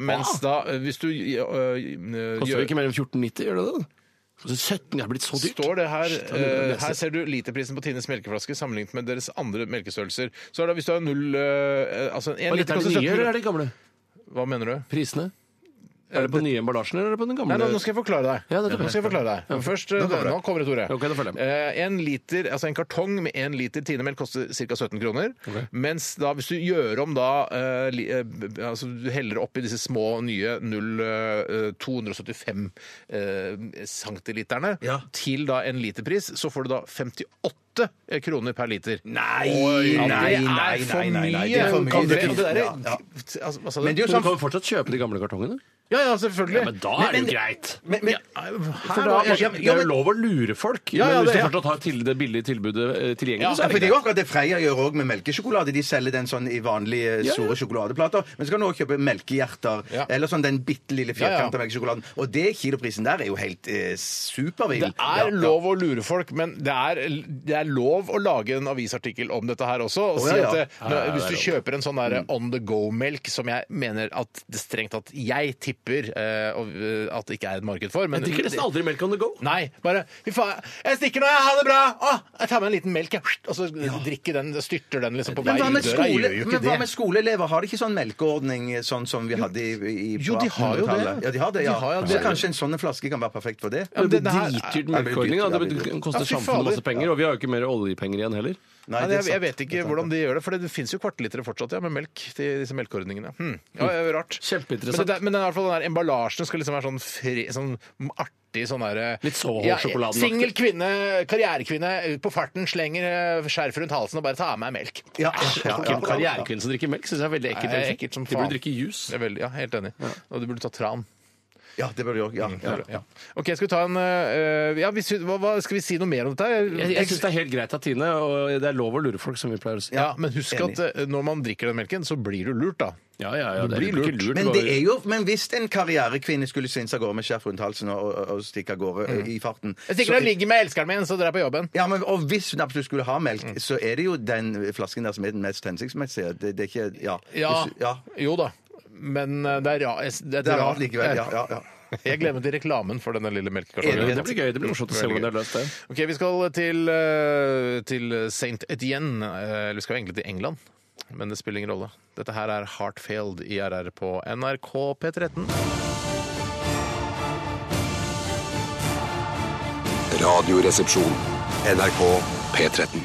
Mens da, eh, hvis du eh, eh, Koster gjør det ikke mellom 14,90, gjør det det? 17 det er blitt så dyrt. Står det her, Shit, jeg må eh, lese. her ser du literprisen på Tines melkeflaske sammenlignet med deres andre melkestørrelser. Så er det, hvis du har null eh, altså en Og liter dette er koster de nye, 17 eller er de gamle? Hva mener du? Prisene? Er det på nye emballasjen eller er det på den gamle? Nei, nei, nå skal jeg forklare deg. Ja, det tror jeg. nå skal jeg forklare deg. Men først, eh, Nå kommer det. nå kommer det, Tore. Ok, da følger jeg med. Eh, en, liter, altså en kartong med en liter tinemelk koster ca. 17 kroner. Mens da, hvis du gjør om da eh, li, eh, b- altså Du heller oppi disse små, nye 0, eh, 275 eh, centiliterne Ja. til da en literpris, så får du da 58 kroner per liter. Nei, Oi, ja, nei, nei, det nei, er for nei, nei, mye! nei, det er for mye. Og det- og det der- Ja, ja. Altså, hva sa du? Men det er jo Men sånn du kan jo fortsatt kjøpe de gamle kartongene. Ja, ja, selvfølgelig. da er det jo greit. men, men, Her For var- da, er- ja, det ja, er jo men- lov å lure folk. Ja, ja, men hvis det- du fortsatt har til det billige tilbudet eh, tilgjengelig, Ja, så er for det det er jo greit. akkurat det Freia gjør òg med melkesjokolade. De selger den sånn i vanlige ja. store sjokoladeplater. Men så kan du òg kjøpe melkehjerter, Ja. eller sånn den bitte lille Ja, ja. firkanta melkesjokoladen. Og det kiloprisen der er jo helt eh, supervill. Det Ja, er ja. lov å lure folk, men det er, det er lov å lage en avisartikkel om dette her også. Og Å, si ja, ja. at det, når, Hvis du kjøper en sånn Mm. der on the go-melk, som jeg mener at det strengt tatt jeg tipper eh, og, eh, at det ikke er et marked for men, Jeg drikker nesten aldri melk on the go. Nei, bare Fy faen, jeg stikker nå, jeg! Ha det bra! Å, jeg tar med en liten melk, jeg. Og så drikker den, styrter den liksom på vei Men hva ut med, døra. Jeg skole, Gjør jo ikke men hva det. med skoleelever? Har de ikke sånn melkeordning eh, sånn som vi hadde i, i på Jo, de har jo det. 1800-tallet? Ja, de har det, ja. De har jo Så det. kanskje en sånn en flaske kan være perfekt for det? Ja, men det denne her- er dritdyrt Ja, det blir melkeordning. dyrt, ja, da. det Det blir dyrt. Ja, koster fy samfunnet fader. masse penger, og vi har jo ikke mer oljepenger igjen heller. Nei, Nei, det er jeg, jeg sant. vet ikke hvordan de gjør det, for det finnes jo kvartelitere fortsatt ja, med melk. til disse melkeordningene. Hm. Ja, Mm. det er rart. Kjempeinteressant. Men, det der, men i hvert fall den der emballasjen skal liksom være sånn, fri, sånn artig sånn derre Litt Soho-sjokoladenaktig. Singel kvinne, karrierekvinne, på farten slenger eh, skjerf rundt halsen og bare tar av meg melk. Ja, ja, ja, Ikke ja, ja. Karrierekvinner som drikker melk, syns jeg er veldig Nei, ekkelt. det er egentlig. ekkelt som De burde faen. drikke juice. Det er veldig, ja, helt enig. Og du burde ta tran. Ja, det bør de Mm, òg. Ja, ja. Ja. OK, skal vi ta en eh, ja, hvis vi, hva, hva, Skal vi si noe mer om dette? her? Jeg, jeg syns det er helt greit av Tine, og det er lov å lure folk, som vi pleier å si. ja, men husk at eh, når man drikker den melken, så blir du lurt, da. Ja, ja, ja, Du det blir er jo ikke lurt. lurt. Men, bare- det er jo, men hvis en karrierekvinne skulle svinse av gårde med skjerf rundt halsen og, og, og stikke av gårde ø, i farten Jeg stikker så- og ligger med elskeren min, så drar jeg på jobben. ja, men, Og hvis hun absolutt skulle ha melk, så er det jo den flasken der som er den mest hensiktsmessige. Det, det er ikke Ja. Ja, Hvis- ja. Jo da. Men eh, det er, ra det er, Det er rart likevel. Ja, ja, ja. Jeg glemmer til reklamen for denne lille Er melkekartongen. det blir gøy. Det blir morsomt å se hvordan det er løst, det. Ok, Vi skal til, eh, til St. Etienne. eh, Eller vi skal jo egentlig til England. Men det spiller ingen rolle. Dette her er Heartfield i RR på NRK P13. Radioresepsjon. NRK P13.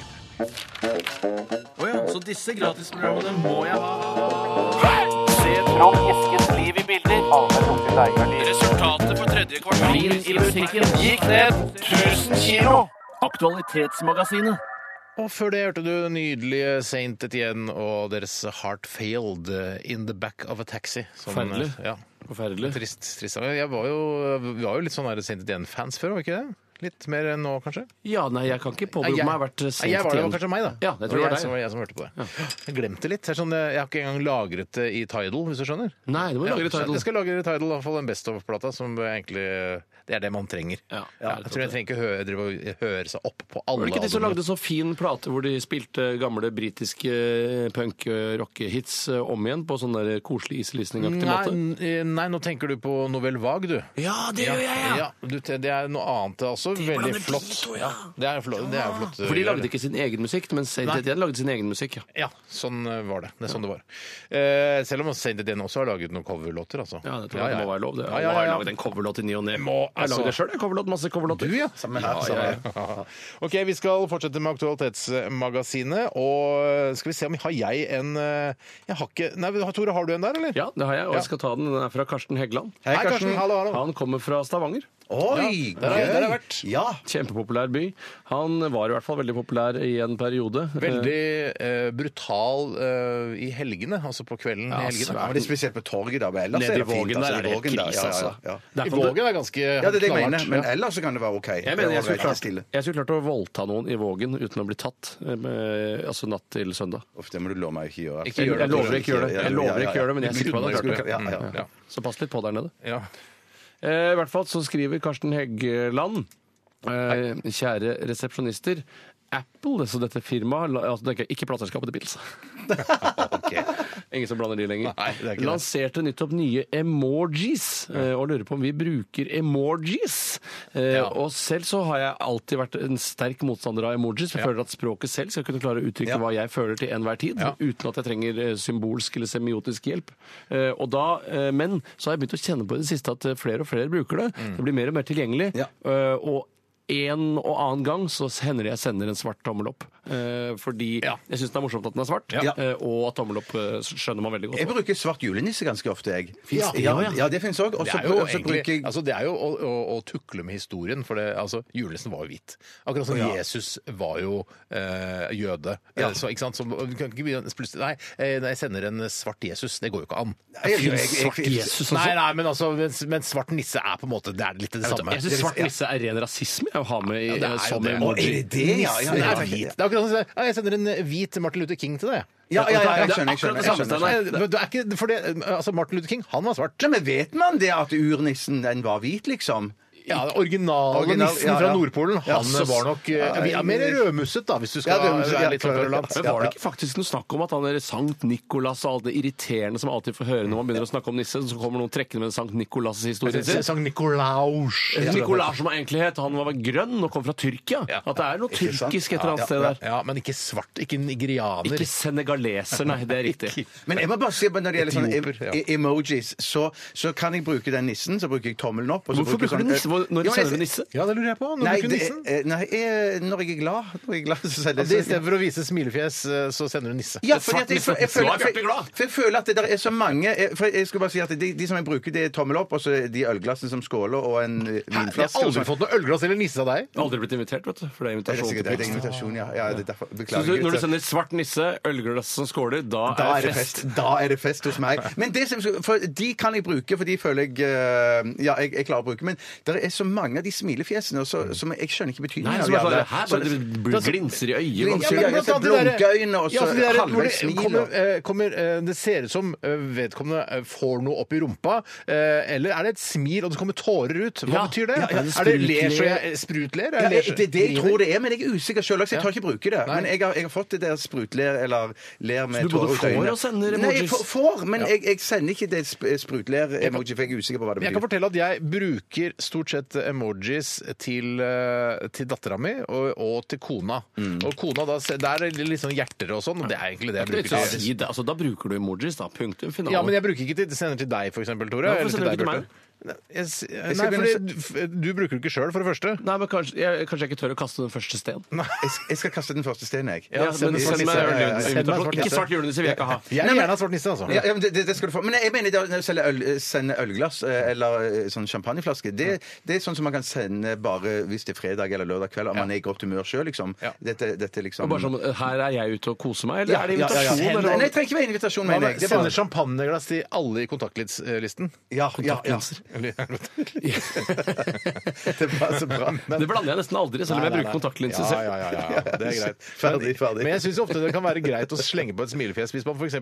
Resultatet for tredje kvartal i musikken gikk ned 1000 kilo. Aktualitetsmagasinet. Og før det hørte du nydelige St. Etienne og deres Heartfield eh, In The Back of a Taxi. som- eh, Forferdelig. Ja, Forferdelig. trist, trist. Jeg var jo, vi var jo litt sånn her St. Etienne-fans før, var vi ikke det? Litt mer enn nå, kanskje? Ja, nei, jeg kan ikke påberope jeg- meg å ha vært sent Nei, jeg var det, det var igjen. kanskje meg, da. Ja, jeg tror det var jeg, deg. som, jeg som hørte på det. Jeg glemte litt. Det er sånn, jeg har ikke engang lagret det i Tidal, hvis du skjønner. Nei, det må Ja, lagre title. Jeg skal lagre i Tidal, i hvert fall en Best of-plata, som egentlig Det er det man trenger. Ja, jeg tror jeg trenger ikke høre, drive og høre seg opp på alle Var det ikke de som albumene. lagde sånn, så fin plate hvor de spilte gamle britiske eh, punk-rock-hits om igjen på sånn der koselig iselysningaktig Nei, måte? n- nei, nå tenker du på Novell Vague, du. Ja, det gjør jeg, ja! Ja, du, det er noe annet det er også. Veldig flott. ja. det er flott. Det er flott. For de lagde ikke sin egen musikk, men Saint Nei. Etienne lagde sin egen musikk, ja. Ja, sånn eh, var det. Det er sånn det var. Eh, selv om Saint Etienne også har laget noen coverlåter, altså. Ja, det tror jeg det må være lov. Det. Ja, ja, Jeg ja. har laget en coverlåt i ny og ne. Må, Jeg altså. lagde det sjøl, jeg. Coverlåt, masse coverlåter. Du, ja. Samme her. samme her. OK, vi skal fortsette med Aktualitetsmagasinet, og eh, skal vi se om har jeg en eh, Jeg har ikke Nei, Tore, har du en der, eller? Ja, det har jeg, og jeg skal ta den. Den er fra Karsten Heggeland. Hei, Karsten. Hallo, hallo. Han kommer fra Stavanger. Oi! der har jeg- gøy. der har jeg vært. Ja. Kjempepopulær by. Han var i hvert fall veldig populær i en periode. Veldig eh, brutal eh, i helgene, altså på kvelden Ja, i helgene. Ja, men det er spesielt på torget, da. men Ellers Nede er i det fint. Vågen altså, der er i det helt Vågen, da. krise, Ja, ja, altså. ja. I Vågen er ganske Ja, det er det jeg mener. knallhardt, Men ja. ellers så kan det være OK. Jeg mener, Det er jeg skulle ålreit, stille. klart, jeg skulle klart å voldta noen i Vågen uten å bli tatt, eh, med- altså natt til søndag. Uff, det må du love meg ikke gjøre. Ikke gjør det, Jeg lover ikke å gjøre det, Ja, Jeg ja, lover ja, ikke å gjøre det, men jeg sitter på det. Skulle- klart det. Ja, ja, ja. Mm, Ja. Så pass litt på der nede. Ja. Eh, I hvert fall så skriver Karsten Heggeland eh, Kjære resepsjonister. Apple, så dette firmaet la- altså, det er ikke- Ikke plateselskapet til Beatles. Ingen som blander de lenger. Nei, det er ikke det. Lanserte nyttopp nye emojis, eh, og lurer på om vi bruker emojis. Eh, Ja. Og selv så har jeg alltid vært en sterk motstander av emojis. for Jeg føler at språket selv skal kunne klare å uttrykke Ja. hva jeg føler til enhver tid, Ja. uten at jeg trenger eh, symbolsk eller semiotisk hjelp. Eh, Og da, eh, men så har jeg begynt å kjenne på i det siste at eh, flere og flere bruker det. Mm. Det blir mer og mer tilgjengelig. Ja. eh, og en og annen gang så hender det jeg sender en svart tommel opp. Eh, fordi Ja. jeg syns det er morsomt at den er svart, Ja. eh, og at tommel opp eh, skjønner man veldig godt. Jeg bruker svart julenisse ganske ofte, jeg. Finns det? ja, ja, det fins òg. Og Det så er jo, og så bruker egentlig, jeg altså det er jo å, å, å tukle med historien, for det, altså, julenissen var jo hvit. Akkurat som Jesus var jo eh, jøde. Eh, Så, ikke sant? Så, vi kan ikke begynne plutselig Nei, eh, nei, jeg sender en svart Jesus. Det går jo ikke an. jeg- jeg- jeg- Svart Jesus også. Nei, nei, men, altså, men, men svart nisse er på en måte Det er litt det samme. jeg syns svart nisse er ren rasisme jeg, å ha med i Ja, det er eh, jo sånn det. Å, er emoji. det det? Ja, ja, Det ja. er hvit. Det er akkurat som å si, «Ja, Jeg sender en hvit Martin Luther King til deg. Ja, ja, ja, jeg Det er skjønner. jeg akkurat skjønner, det jeg samme, skjønner. Steinar. Men det er ikke, for det, altså Martin Luther King, han var svart. Nei, men vet man det at urnissen den var hvit, liksom? Ja, den originale Original- nissen ja, ja. fra Nordpolen, han Ja, så- var nok eh, vi er mer rødmusset, da, hvis du skal Ja, rødmusset, ja, være litt klar, kverulant. ja. Men var det ikke faktisk noe snakk om at han er Sankt Nikolas og alt det irriterende som man alltid får høre når man begynner å snakke om nisse, så kommer noen trekkende med Sankt Nikolas-historien sin? Sankt Nikolaus. Nikolas som han egentlig het, han var vel grønn og kom fra Tyrkia. Ja. At det er noe Ikke sant? tyrkisk et Ja, eller annet sted ja, der. Ja, men ikke svart. Ikke nigerianer. Ikke senegaleser, nei, det er riktig. Men jeg må bare si, at når det gjelder sånne em- Etioper, ja. e- emojis, så, så kan jeg bruke den nissen, så bruker jeg tommelen opp. og så Hvorfor bruker bruker jeg sånn, du nisse? Hvor- Når Ja, men du jeg- sender du nisse? Ja, det lurer jeg på. Når Nei, bruker det, nissen? eh, nei jeg, når jeg er glad, når jeg er glad så Ja, sender det, I jeg sånn- stedet for å vise smilefjes, eh, så sender du nisse. Ja, fordi at jeg, jeg, jeg, føler, Nå er Bjarte glad. for, for jeg føler at det der er så mange jeg, for jeg skulle bare si at de, de som jeg bruker, det er tommel opp, og så er de ølglassene som skåler, og en eh, Jeg har vinflaske. og aldri sånn. fått noe ølglass eller nisse av deg. Jeg har Aldri blitt invitert, vet du. For det er Det er sikkert det, det er invitasjon. invitasjon, ja. ja det er derfor, Så beklager, du, når du gutter. sender svart nisse, ølglass som skåler, da, Da er det fest. Da er det fest hos meg. Men det som, for de kan jeg bruke, for de føler jeg eh, Ja, jeg, jeg klarer å bruke. Men det er så mange av de smilefjesene og så, som jeg skjønner ikke Mm. Nei, betydningen så av. bare, de alle. sånn, her bare det blir glinser i øyet. Glinser. Ja, men blant annet de der- ja, så de der hvor halvveis det smil, kommer, og- eh, kommer, eh, Det ser ut som eh, vedkommende eh, får noe opp i rumpa, eh, eller er det et smil og det kommer tårer ut? Hva Ja. betyr det? Ja, ja, er det ler så sprutler. jeg eh, sprutler? Ja, Er jeg, ler så- det er det jeg tror det er, men jeg er usikker sjøl. Jeg tør ikke bruke det. Nei. Men jeg har, jeg har fått det der sprutler eller ler med Så du både tårer ut får øynene. og sender Nei, jeg emojis? får- får, men jeg, jeg sender ikke det sp- sprutler-emoji, for jeg er usikker på hva det Jeg kan betyr. fortelle at jeg bruker stort sett emojis til, eh, til dattera mi og, og til kona. Mm. Og kona, da, se- der er det litt sånn hjerter og sånn. og Det er egentlig det jeg Det er ikke bruker. noe sånn- vits i å til- si det. Altså, da bruker du emojis, da. Punktum. Finale. Ja, men jeg bruker ikke til, sender til deg, for eksempel, Tore. Hvorfor eller til sender du deg, ikke til Bjarte. Nei, jeg s- Nei, skal fordi du, f- du bruker det ikke sjøl, for det første. Nei, men kanskje jeg, kanskje jeg ikke tør å kaste den første sten. Jeg, sk- jeg skal kaste den første steinen, jeg. Ja, send meg men send svart meg nisse. ølglass. Ja, ja, ja. Send meg svart Ikke nisse. svart julenisse vil jeg ikke ha. Jeg vil Nei, men- gjerne ha svart nisse, altså. Ja, ja, men det, det- det skal du få. Men jeg mener det å selge øl, sende ølglass eh, eller eh, sånn champagneflaske, det, det er sånn som man kan sende bare hvis det er fredag eller lørdag kveld, og man er i godt humør sjøl, liksom. Ja. Dette, dette liksom Og bare sånn, Her er jeg ute og koser meg, eller Ja, er det ja, ja, ja. invitasjon? eller Nei, hva? det trenger ikke være invitasjon, Man mener jeg. Det er sender bare, champagneglass til alle i kontaktlisten. ja, ja, ja. Eller- Det var så bra. Men- Det blander jeg nesten aldri, selv om Nei, jeg nei, bruker nei. kontaktlinser ja, selv. ja, ja, ja, det er greit. Ferdig, ferdig. Men jeg syns ofte det kan være greit å slenge på et smilefjes hvis man f.eks.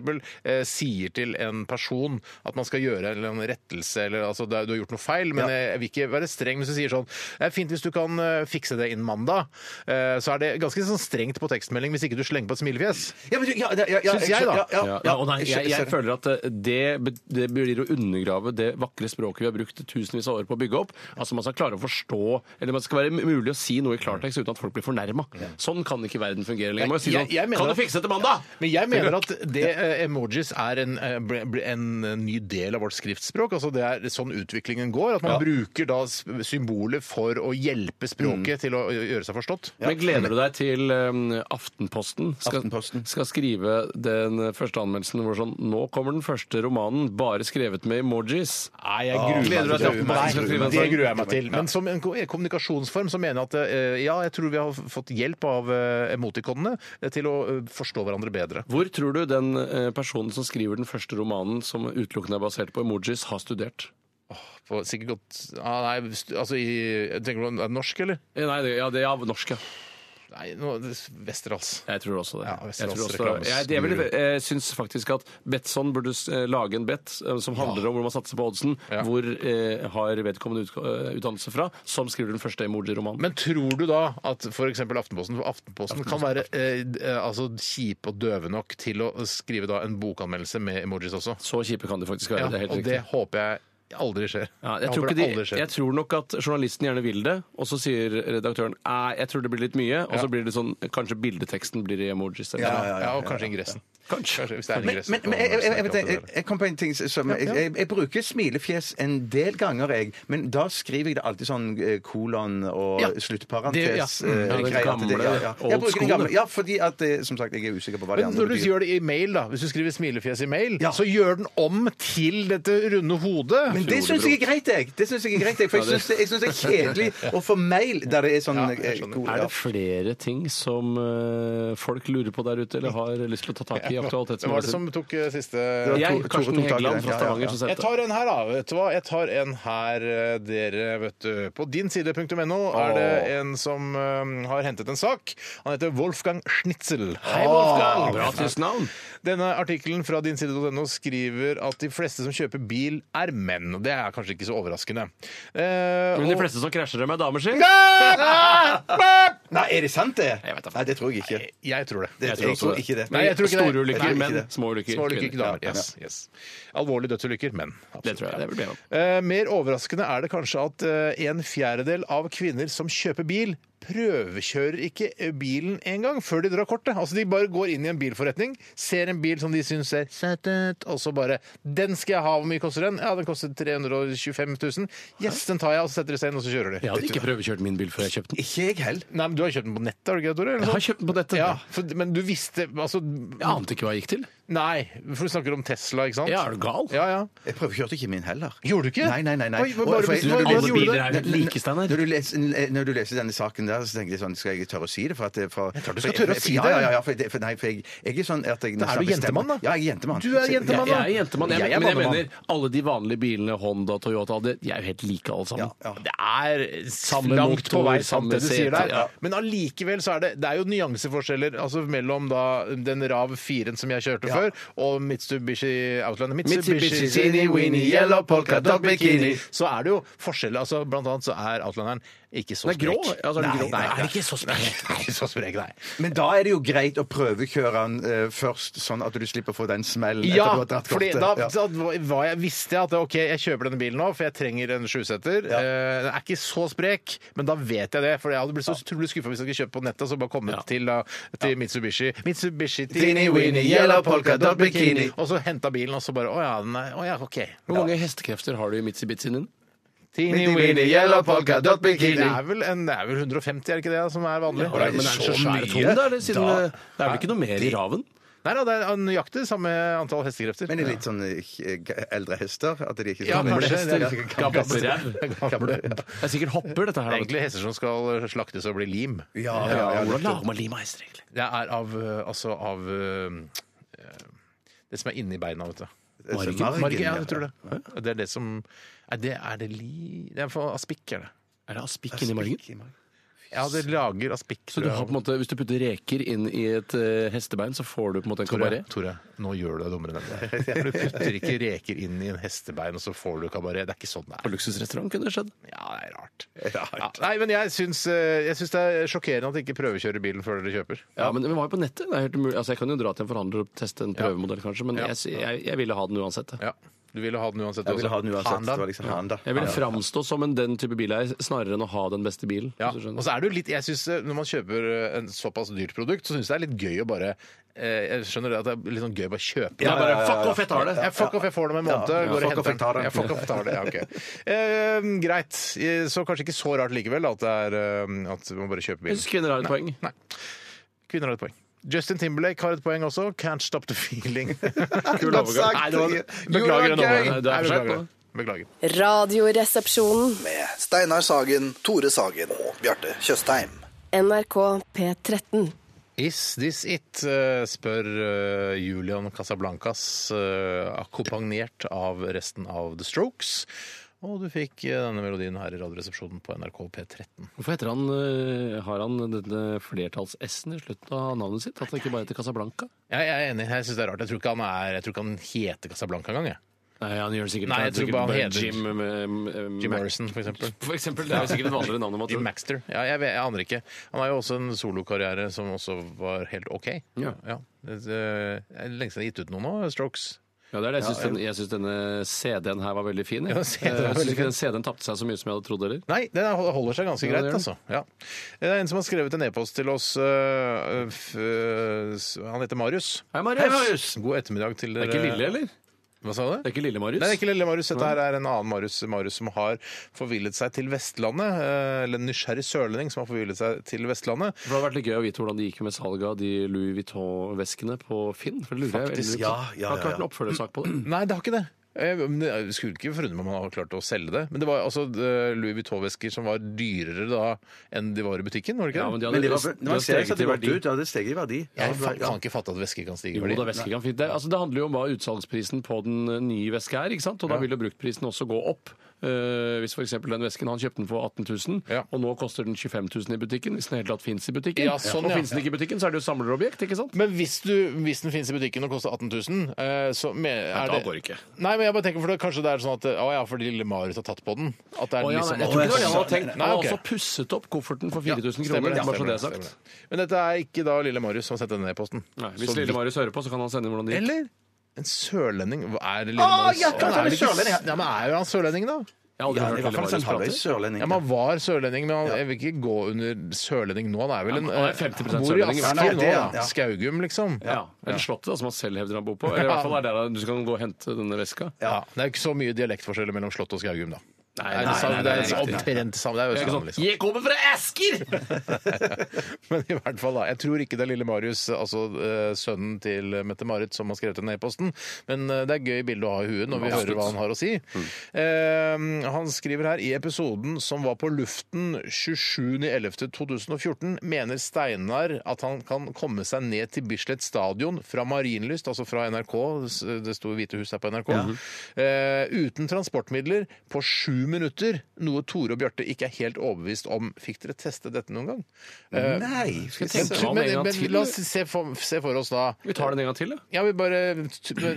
Eh, sier til en person at man skal gjøre en eller annen rettelse, eller altså det er- du har gjort noe feil, men Ja. jeg vil ikke være streng hvis du sier sånn Det er fint hvis du kan eh, fikse det innen mandag. Eh, så er det ganske sånn strengt på tekstmelding hvis ikke du slenger på et smilefjes. Ja, men, du- ja, ja, ja, ja, Syns jeg, da. Ja, ja, Ja, ja, og nei, jeg, jeg føler at eh, det, be- det blir å undergrave det vakre språket vi har brukt tusenvis av år på å bygge opp. Altså Man skal klare å forstå Eller man skal være mulig å si noe i klartekst uten at folk blir fornærma. Sånn kan ikke verden fungere lenger. Man må jo si Jeg- sånn jeg mener Kan at- du fikse det til mandag?! Men jeg mener at det, eh, emojis er en, eh, ble- ble- en ny del av vårt skriftspråk. altså Det er sånn utviklingen går. At man bruker da s- symboler for å hjelpe Mm. språket til å gjøre seg forstått. Men gleder du deg til eh, Aftenposten? Skal, Aftenposten. skal skrive den første anmeldelsen hvor sånn Nå kommer den første romanen bare skrevet med emojis. Nei, jeg gruer Gleder du deg til til Aftenposten skal skrive Nei, en sånn? det sang? gruer jeg meg til. Men som en ko- eh, kommunikasjonsform så mener jeg at eh, ja, jeg tror vi har fått hjelp av eh, emotikonene eh, til å eh, forstå hverandre bedre. Hvor tror du den eh, personen som skriver den første romanen som utelukkende er basert på emojis, har studert? På sikkert godt ah, Nei, st- altså i Tenker du på norsk, eller? Eh, Nei, det, ja, det er av norsk, ja. Nei, nå, Westerdals. Jeg tror også det. Ja, jeg Westerdals tror også, reklames- jeg, det er vel, eh, jeg syns faktisk at Betson burde s- eh, lage en bet eh, som handler om hvor man satser på oddsen. Ja. Hvor eh, har vedkommende utk- eh, utdannelse fra? Som skriver den første emoji-romanen. Men tror du da at f.eks. Aftenposten For Aftenposten, kan være eh, d- eh, altså, kjip og døve nok til å skrive da en bokanmeldelse med emojis også. Så kjipe kan de faktisk være. Ja, det er helt og riktig. det håper jeg aldri skjer. Ja, jeg, tror håper ikke det aldri de, skjer. jeg tror nok at journalisten gjerne vil det, og så sier redaktøren Nei, jeg tror det blir litt mye, og Ja. så blir det sånn Kanskje bildeteksten blir i emojis. Eller? ja, noe. ja, og kanskje ingressen. Kanskje. hvis det er en Men, ingress. men, men jeg, jeg, jeg, vet det, jeg, jeg kom på en ting som jeg, jeg, jeg bruker smilefjes en del ganger, jeg. Men da skriver jeg det alltid sånn eh, kolon og Ja. Det- ja. sluttparentes. eh, Mm, ja, den greier til det, gamle, ja. old Jeg bruker school, den gamle. det. Ja, fordi at eh, som sagt, jeg er usikker på hva de Men andre når du gjør det i mail, da, hvis du skriver smilefjes i mail, Ja. så gjør den om til dette runde hodet. Men det syns jeg er greit, jeg! Det synes jeg er greit, jeg. For jeg syns det, jeg synes det er kjedelig å få mail der det er sånn jeg eh, skjønner. kolon, Er ja. det flere ting som eh, folk lurer på der ute, eller har lyst til å ta tak i i Hvem var det Aktualitetsmagasin? som tok eh, siste var Jeg, Tore- Karsten Tore tok tak i Hegeland det. fra Ja, ja, Stavanger, ja. som sendte Jeg tar en her, da. Vet du hva? Jeg tar en her, eh, dere, vet du. På dinside.no er det en som eh, har hentet en sak. Han heter Wolfgang Schnitzel. Hei, Wolfgang! Bra tidsnavn. Denne artikkelen fra dinside.no skriver at de fleste som kjøper bil, er menn. Og Det er kanskje ikke så overraskende. Eh, Men de og- fleste som krasjer dem, er damer, si. Nei, er det sant, det? Jeg vet da faen. Nei, det tror jeg ikke. Jeg tror det. Det- jeg tror ikke det. Nei, jeg tror ikke det. Store Jeg ulykker, tror ikke menn. det. Små ulykker, Små ulykker, ikke kvinner. damer. Yes, yes. Alvorlige dødsulykker, menn. Absolutt. Det tror jeg. Det burde jeg gjøre. Eh, mer overraskende er det kanskje at eh, en fjerdedel av kvinner som kjøper bil, prøvekjører ikke eh, bilen engang før de drar kortet. Altså De bare går inn i en bilforretning, ser en bil som de syns ser søt ut, og så bare 'Den skal jeg ha. Hvor mye koster den?' 'Ja, den koster 325 000.' 'Yes, den tar jeg.' Og så setter de seg inn, og så kjører de. Jeg hadde ikke prøvekjørt min bil før jeg kjøpte den. Ikke jeg heller. Nei, men Du har kjøpt den på nettet, har du ikke det, Tore? eller Jeg har sånn? kjøpt den på nettet. ja, for, men du visste altså Jeg ante ikke hva jeg gikk til. Nei, for du snakker om Tesla, ikke sant? Ja, er du gal? Ja, ja. Jeg prøvekjørte ikke min heller. Gjorde du ikke? Nei, nei, nei. nei. Oi, hva- Og- bare- for jeg- hva- hva Alle gjorde du? biler er jo like, Steinar. Når du, leser, når du leser denne saken der, så tenker jeg sånn Skal jeg tørre å si det? For at det er fra, jeg tror du skal tørre å si ja, det. Ja, ja, ja, for, det, for, nei, for jeg, jeg er sånn at jeg Da er du nesten bestemmer- jentemann, da. Ja, jeg er jentemann. Du er jentemann, Jeg er jentemann, jeg, Jeg er men jeg mannemann. mener alle de vanlige bilene, Honda, Toyota, det, de er jo helt like alle sammen. Ja, ja. Det er samme langt på motor, vei sant samme det du sier sete, der. ja. Men allikevel så er det, det er jo nyanseforskjeller altså mellom da den Rav 4-en som jeg kjørte før, og Mitsubishi Outlander. Mitsubishi, teeny, weeny, yellow polka dot bikini. Så er det jo forskjeller. Altså, blant annet så er Outlanderen ikke så Den er grå, altså, er den Nei, grå? Nei, Nei, er ikke så sprek. Nei, ikke så sprek, nei. Men da er det jo greit å prøvekjøre den eh, først, sånn at du slipper å få den smellen Ja, etter du har dratt fordi kortet. da, Ja. da var jeg, visste jeg at ok, jeg kjøper denne bilen nå, for jeg trenger en sjuseter. Eh, den er ikke så sprek, men da vet jeg det. For jeg hadde blitt så utrolig skuffa hvis jeg skulle kjøpt på nettet og så bare kommet Ja. til, da, til Mitsubishi. Mitsubishi Teeny weeny yellow polka dot bikini. Og så henta bilen, og så bare Å ja, den er, å, ja OK. Hvor mange hestekrefter har du i Mitsubitsien din? Teeny Teeny weeny yellow polka dot bikini. Det er vel, en, det er vel 150, er det ikke det, som er vanlig? Men er den så så svær og tung, mye? da? eller Siden, det er vel ikke noe mer i raven? Nei da, det er nøyaktig samme antall hestekrefter. Men det er litt sånn eh, g- eldre hester? At de ikke Ja, sånn- kanskje. Gamle ræv. Gamle. Det er sikkert hopper, dette her. da. Egentlig hester som skal slaktes og bli lim. Ja, ja, altså, ja. Hvordan lager man lima hester, egentlig? Det er av eh, altså av eh, eh, det som er inni beina, vet du. Margen. Margen, ja, jeg tror det. Det er det som Er det, er det li... Det er for aspikk, er det. Er det aspikk inni margen? Ja, det lager aspikk. Så du har på en måte, Hvis du putter reker inn i et eh, hestebein, så får du på en måte en Tore, kabaret? Tore, nå gjør du deg dummere enn det. Du putter ikke reker inn i en hestebein, og så får du kabaret. Det er ikke sånn det På er. luksusrestaurant kunne det skjedd. Ja, det er rart. Ja, nei, men jeg syns, eh, jeg syns det er sjokkerende at de ikke prøvekjører bilen før dere kjøper. Ja, men vi var jo på nettet. Det er helt umulig. Altså, jeg kan jo dra til en forhandler og teste en prøvemodell, kanskje, men Ja. jeg, jeg, jeg ville ha den uansett. jeg. Ja. Du ville ha den uansett? Jeg også. ville ha den uansett. Faen, da. Det var liksom han, da. Jeg vil framstå som en den type bileier snarere enn å ha den beste bilen. Ja, hvis du skjønner. og så er det jo litt, jeg synes, eh, Når man kjøper eh, en såpass dyrt produkt, så syns jeg det er litt gøy å bare eh, Jeg skjønner det at det er litt sånn gøy å bare kjøpe det. Ja, bare, fuck off, jeg tar det. Ja, fuck off, jeg får det om en måned. Ja, ja, går og fuck off, henter den. jeg tar det. Ja, fuck off, jeg tar det. Ja, ok. Eh, greit. Eh, Så kanskje ikke så rart likevel at, det er, eh, at man bare kjøper Jeg bil. syns kvinner har et poeng. Nei. Kvinner har et poeng. Justin Timberlake har et poeng også. Can't stop the feeling. Kul overgang. Nei, det var, beklager den overgangen. Det er for seint nå. beklager. beklager. Radioresepsjonen. Med Steinar Sagen, Tore Sagen og Bjarte Tjøstheim. NRK P13. Is this it? eh, spør eh, Julian Casablancas, eh, akkompagnert av resten av The Strokes. Og du fikk eh, denne melodien her i Radioresepsjonen på NRK P13. Hvorfor heter han, eh, har han denne flertalls-S-en i slutten av navnet sitt? At han ikke bare heter Casablanca? Jeg, jeg er enig. Jeg synes det er rart. Jeg tror ikke han, er, jeg tror ikke han heter Casablanca engang. jeg. Nei, han gjør det sikkert Nei, jeg tror sikkert bare han heter- Jim, eh, eh, Jim Mac- Morrison, for eksempel. For eksempel, det er jo sikkert et vanligere navn. om at- Jim Maxter. Ja, jeg, vet, jeg aner ikke. Han har jo også en solokarriere som også var helt OK. Ja. Det, det er lenge siden jeg har gitt ut noe nå, Strokes. Ja, det er det. Jeg syns den, jeg syns denne CD-en her var veldig fin. Jeg, Eh, Ja, jeg CD-en var syns veldig ikke den CD-en tapte seg så mye som jeg hadde trodd heller. Nei, den er- holder seg ganske Ja, greit, det gjør den. altså. Ja. Det er en som har skrevet en e-post til oss. øh, f, øh, s- han heter Marius. Hei, Marius! God ettermiddag til Det dere. er ikke Lille, eller? Hva sa du? Det er ikke Lille Marius? Nei, det er ikke lille Marius. Dette her er en annen Marius, Marius som har forvillet seg til Vestlandet. eh, Eller en nysgjerrig sørlending som har forvillet seg til Vestlandet. For Det hadde vært litt gøy å vite hvordan det gikk med salget av de Louis Vuitton-veskene på Finn. For det lurer jeg veldig Faktisk, på. ja, ja, Det har ikke ja, ja. vært en oppfølgersak på det. Nei, det har ikke det. Eh, men Jeg skulle ikke forundre meg om han har klart å selge det. Men det var altså eh, Louis Vuitton-vesker som var dyrere da enn de var i butikken, var det ikke Ja, men det? de hadde, Men det var, de det hadde var steget steget i gått verdi. ut. Ja, det steget i verdi. Ja, Jeg det var- fa- ja. kan ikke fatte at vesker kan stige i Jo verdi. da, vesker kan fint. Det, altså, det handler jo om hva utsalgsprisen på den nye veska er, ikke sant? og da vil jo bruktprisen også gå opp. Eh, hvis f.eks. den vesken han kjøpte den for 18 000, Ja. og nå koster den 25 000 i butikken, hvis den i hele tatt fins i butikken. Ja, sånn, og ja. finnes den ikke i butikken, så er det jo samlerobjekt, ikke sant? Men hvis, du, hvis den finnes i butikken og koster 18 000, eh, så med, er da går det ikke. Nei, men jeg bare tenker, for det, kanskje det er sånn at eh, Å ja, fordi lille Marius har tatt på den. At det er Å, ja, liksom nei, jeg tror ikke det var det han hadde Nei, tenkt. Han har ok. også pusset opp kofferten for Ja, 4000 stemmer kroner. det, bare så stemmer det er det, sagt. stemmer det. Men dette er ikke da lille Marius som har sett denne e-posten. Nei, Så hvis vidt- Lille Marius hører på, så kan han sende inn hvordan det gikk. Eller en sørlending. Hva Er det lille Marius? ja, klart han er vel ikke- sørlending, ja. Ja, men er jo han sørlending, da? Jeg har aldri Ja, i hvert hørt Lille fall sånn Marius prate. halvveis sørlending. Ja, men Han var sørlending, men han jeg vil ikke gå under sørlending nå. Han er vel en eh, Ja, han er 50% bor i sørlending, i hvert Asker nå, fall. Ja, det er da. han, ja. Skaugum, liksom. Ja, Eller Slottet, da, som han selv hevder han bor på. Eller i hvert fall er det der du kan gå og hente denne veska. Ja, Det er jo ikke så mye dialektforskjeller mellom Slott og Skaugum, da. Nei, Det er det nei, samme- nei, det nei, er nei, riktig. omtrent samme. Det er jo Det er ikke samme, sånn, liksom. Jeg kommer fra Asker! Men i hvert fall, da. Jeg tror ikke det er lille Marius, altså eh, sønnen til Mette-Marit, som har skrevet denne e-posten, men eh, det er gøy bilde å ha i huet når vi hører hva han har å si. Eh, han skriver her i episoden som var på luften 27.11.2014, mener Steinar at han kan komme seg ned til Bislett stadion fra Marienlyst, altså fra NRK, det sto Hvite hus her på NRK, eh, uten transportmidler på sju minutter, noe Tore og Bjarte ikke er helt overbevist om. Fikk dere teste dette noen gang? Eh, Nei! Skal tenke- se. Ta den men, en gang men til, la oss se for, se for oss da Vi tar den en gang til, da. ja, vi bare,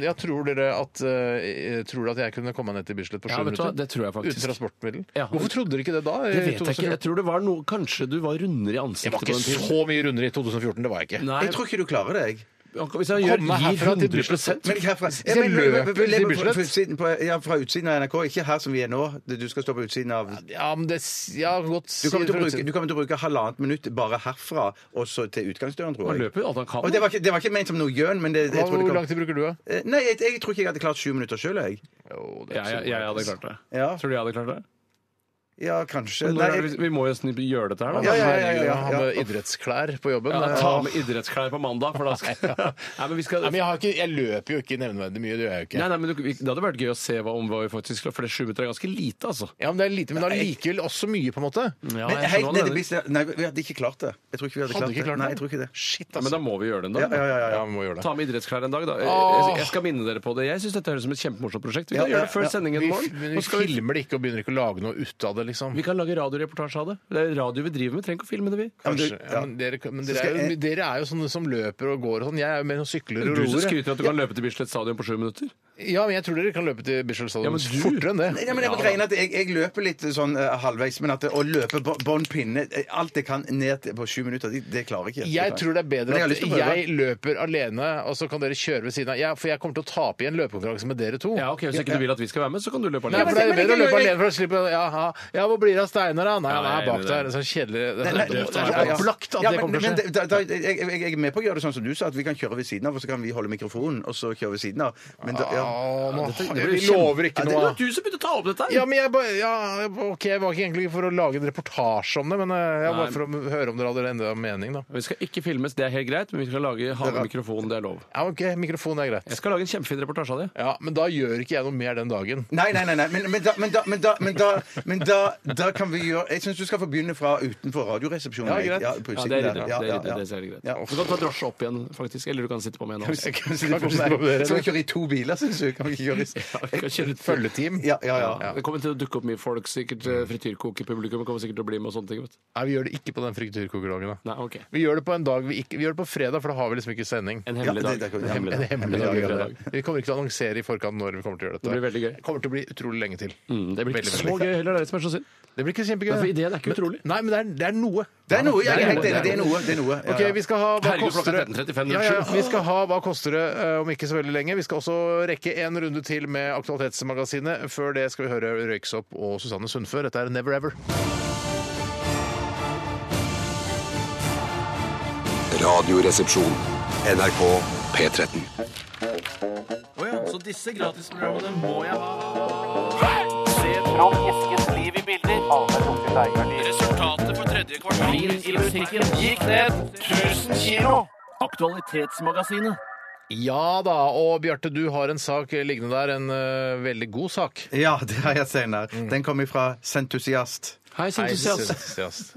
ja, tror dere at, eh, tror dere at jeg kunne komme ned til Bislett på sju Ja, vet du hva, minutter? det tror jeg faktisk. Uten transportmiddel? Ja. Hvorfor trodde dere ikke det da? i Det vet jeg ikke. 2014? Jeg tror det var noe Kanskje du var rundere i Jeg ansiktet var på den ikke tiden. så mye rundere i 2014, det var jeg ikke. Nei, Jeg tror ikke du klarer det, jeg. hvis han gjør, Kom meg gir herfra til 100 Men ikke herfra. jeg løper til løper Bislett? fra utsiden på- Ja, fra utsiden av NRK, ikke her som vi er nå. Du skal stå på utsiden av Ja, men det, s- ja, godt Du kommer, til å sier- bruke, du kommer til å bruke halvannet minutt bare herfra og så til utgangsdøren, tror Han jeg. løper jo alt han kan. Og det var ikke, det var ikke ment som noe gjøn, men det, jeg Hva- tror det Hvor kom lang tid bruker du, da? Eh, Nei, jeg, jeg tror ikke jeg hadde klart sju minutter sjøl, jeg. Ja, jeg, jeg, hadde klart det. Ja. Tror du jeg hadde klart det? Ja, kanskje. Når Nei, er det, jeg, vi- vi må jo nesten gjøre dette her, da. Ja, ja, ja, ja, ja. Ha med idrettsklær på jobben. Ja, da, Nei, ta med idrettsklær på mandag, for da skal Nei, men vi skal Nei, men jeg, har ikke, jeg løper jo ikke nevneverdig mye, det gjør jeg jo ikke. Nei, nei, men du- vi- Det hadde vært gøy å se hva om hva vi faktisk klarer, for det sju minutter er ganske lite, altså. Ja, men det er lite, men allikevel også mye, på en måte. Ja, men helt jeg skjønner hva du ned i mener. bilen Nei, vi hadde ikke klart det. Jeg tror ikke vi hadde, Hadde du ikke klart det? Nei, jeg tror ikke det. Shit, Men altså. da må vi gjøre det en Ja, dag. ja, da. ja, ja. Ja, vi må gjøre det. Ta med idrettsklær en dag, da. Åh. Jeg, jeg skal minne dere på det. Jeg syns dette høres ut som et kjempemorsomt prosjekt. Vi Ja, kan gjøre ja, det før ja. sendingen i Vi, morgen. men Nå vi skal vi, filmer det ikke og begynner ikke å lage noe ut av det, liksom. vi kan lage radioreportasje av det. Det er radio vi driver med, trenger ikke å filme det, vi. Ja, men du- Kanskje. Ja, men dere, men dere, skal er jo, jeg- dere er jo sånne som løper og går og sånn. Jeg er jo mer noen sykler og Du som roer. skryter av at du kan løpe til Bislett stadion på sju minutter. Ja, men jeg tror dere kan løpe til Bislett Stadion Ja, men du- fortere enn det. Nei, men jeg, må greie at jeg, jeg løper litt sånn eh, halvveis, men at det- å løpe bå- bånn pinne eh, alt jeg kan ned til- på sju minutter, det, det klarer jeg ikke. Jeg tror det er Men bedre jeg har at lyst til å prøve. jeg løper alene, og så kan dere kjøre ved siden av. Ja, for jeg kommer til å tape i en løpekonkurranse med dere to. Ja, ok, Hvis ikke du vil at vi skal være med, så kan du løpe Nei, alene. for det er men- bedre å men- løpe alene for å slippe Jaha, ja, hvor blir det av Steinar, da? Nei, han Nei, er bak det- der. Det er så kjedelig. Det Nei, er nei, så det er- det er opplagt at Ja, det men, kommer men til å skje. da, da, jeg, jeg, jeg jeg er med på å gjøre det sånn som du sa, at vi kan kjøre ved siden av, og så kan vi holde mikrofonen, og så kjøre ved siden av. Men da, ja. Å, nå- dette- det blir Vi lover ikke Ja, det noe. Det var du som begynte å ta opp dette her! Ja, men jeg bare, ja, ok, jeg var ikke egentlig for å lage en reportasje om det, men eh, jeg Nei. var for å høre om dere hadde enda mening, da. Vi skal ikke filmes, det er helt greit, men vi skal lage halve mikrofonen, det er lov. Ja, ok, mikrofon er greit. Jeg skal lage en kjempefin reportasje av det. Ja, men da gjør ikke jeg noe mer den dagen. Nei, nei, nei, nei. Men, men, da, men, da, men, da, men, da, men da, da kan vi gjøre Jeg syns du skal få begynne fra utenfor Radioresepsjonen. Ja, jeg. greit. på Ja, utsiden det er der. ryddig. Ja, Det er ja, ryddig, ja. det er helt greit. Ja. Du kan ta drosje opp igjen, faktisk. Eller du kan sitte på med en. også. Kanskje de får med dere Skal vi det. kjøre i to biler, syns så kan vi ikke gjøre det. Kan kjøre et Følgeteam. Ja, ja, ja. Det kommer til å dukke opp mye folk. sikkert eh, Frityrkokepublikum kommer sikkert til å bli med. og sånne ting, vet du. Nei, vi gjør det ikke på den frikturkokerdagen, da. Nei, ok. Vi gjør det på en dag vi ikke Vi gjør det på fredag, for da har vi liksom ikke sending. En hemmelig Ja, dag. det- det kan vi- En hemmelig En dag. hemmelig En dag. hemmelig gjør det. Vi kommer ikke til å annonsere i forkant når vi kommer til å gjøre dette. Det blir veldig gøy. kommer til å bli utrolig lenge til. Mm, Det blir ikke Veldig, så veldig. gøy heller, det er det som er så synd. Det blir ikke kjempegøy. Nei, for ideen er ikke utrolig. Men, nei, men det er, det er noe. Det er noe, jeg Det er er helt noe, enig. Det er noe. Det er noe. Ja, Ok, ja. vi skal ha Hva Herregud, koster det? klokka er 13.35, Ja, ja, vi skal ha Hva koster det eh, om ikke så veldig lenge. Vi skal også rekke en runde til med Aktualitetsmagasinet. Før det skal vi høre Røyksopp og Susanne Sundfør. Dette er Never Ever. Radioresepsjon. NRK P13. Så disse gratisprogrammene må jeg ha. Resultatet for tredje kvartal i musikken gikk ned 1000 kilo. Aktualitetsmagasinet. Ja da, og Bjarte, du har en sak liggende der. En eh, veldig god sak. Ja, det har jeg senere. Den kom ifra Sentusiast. Hei, så entusiast. Entusiast.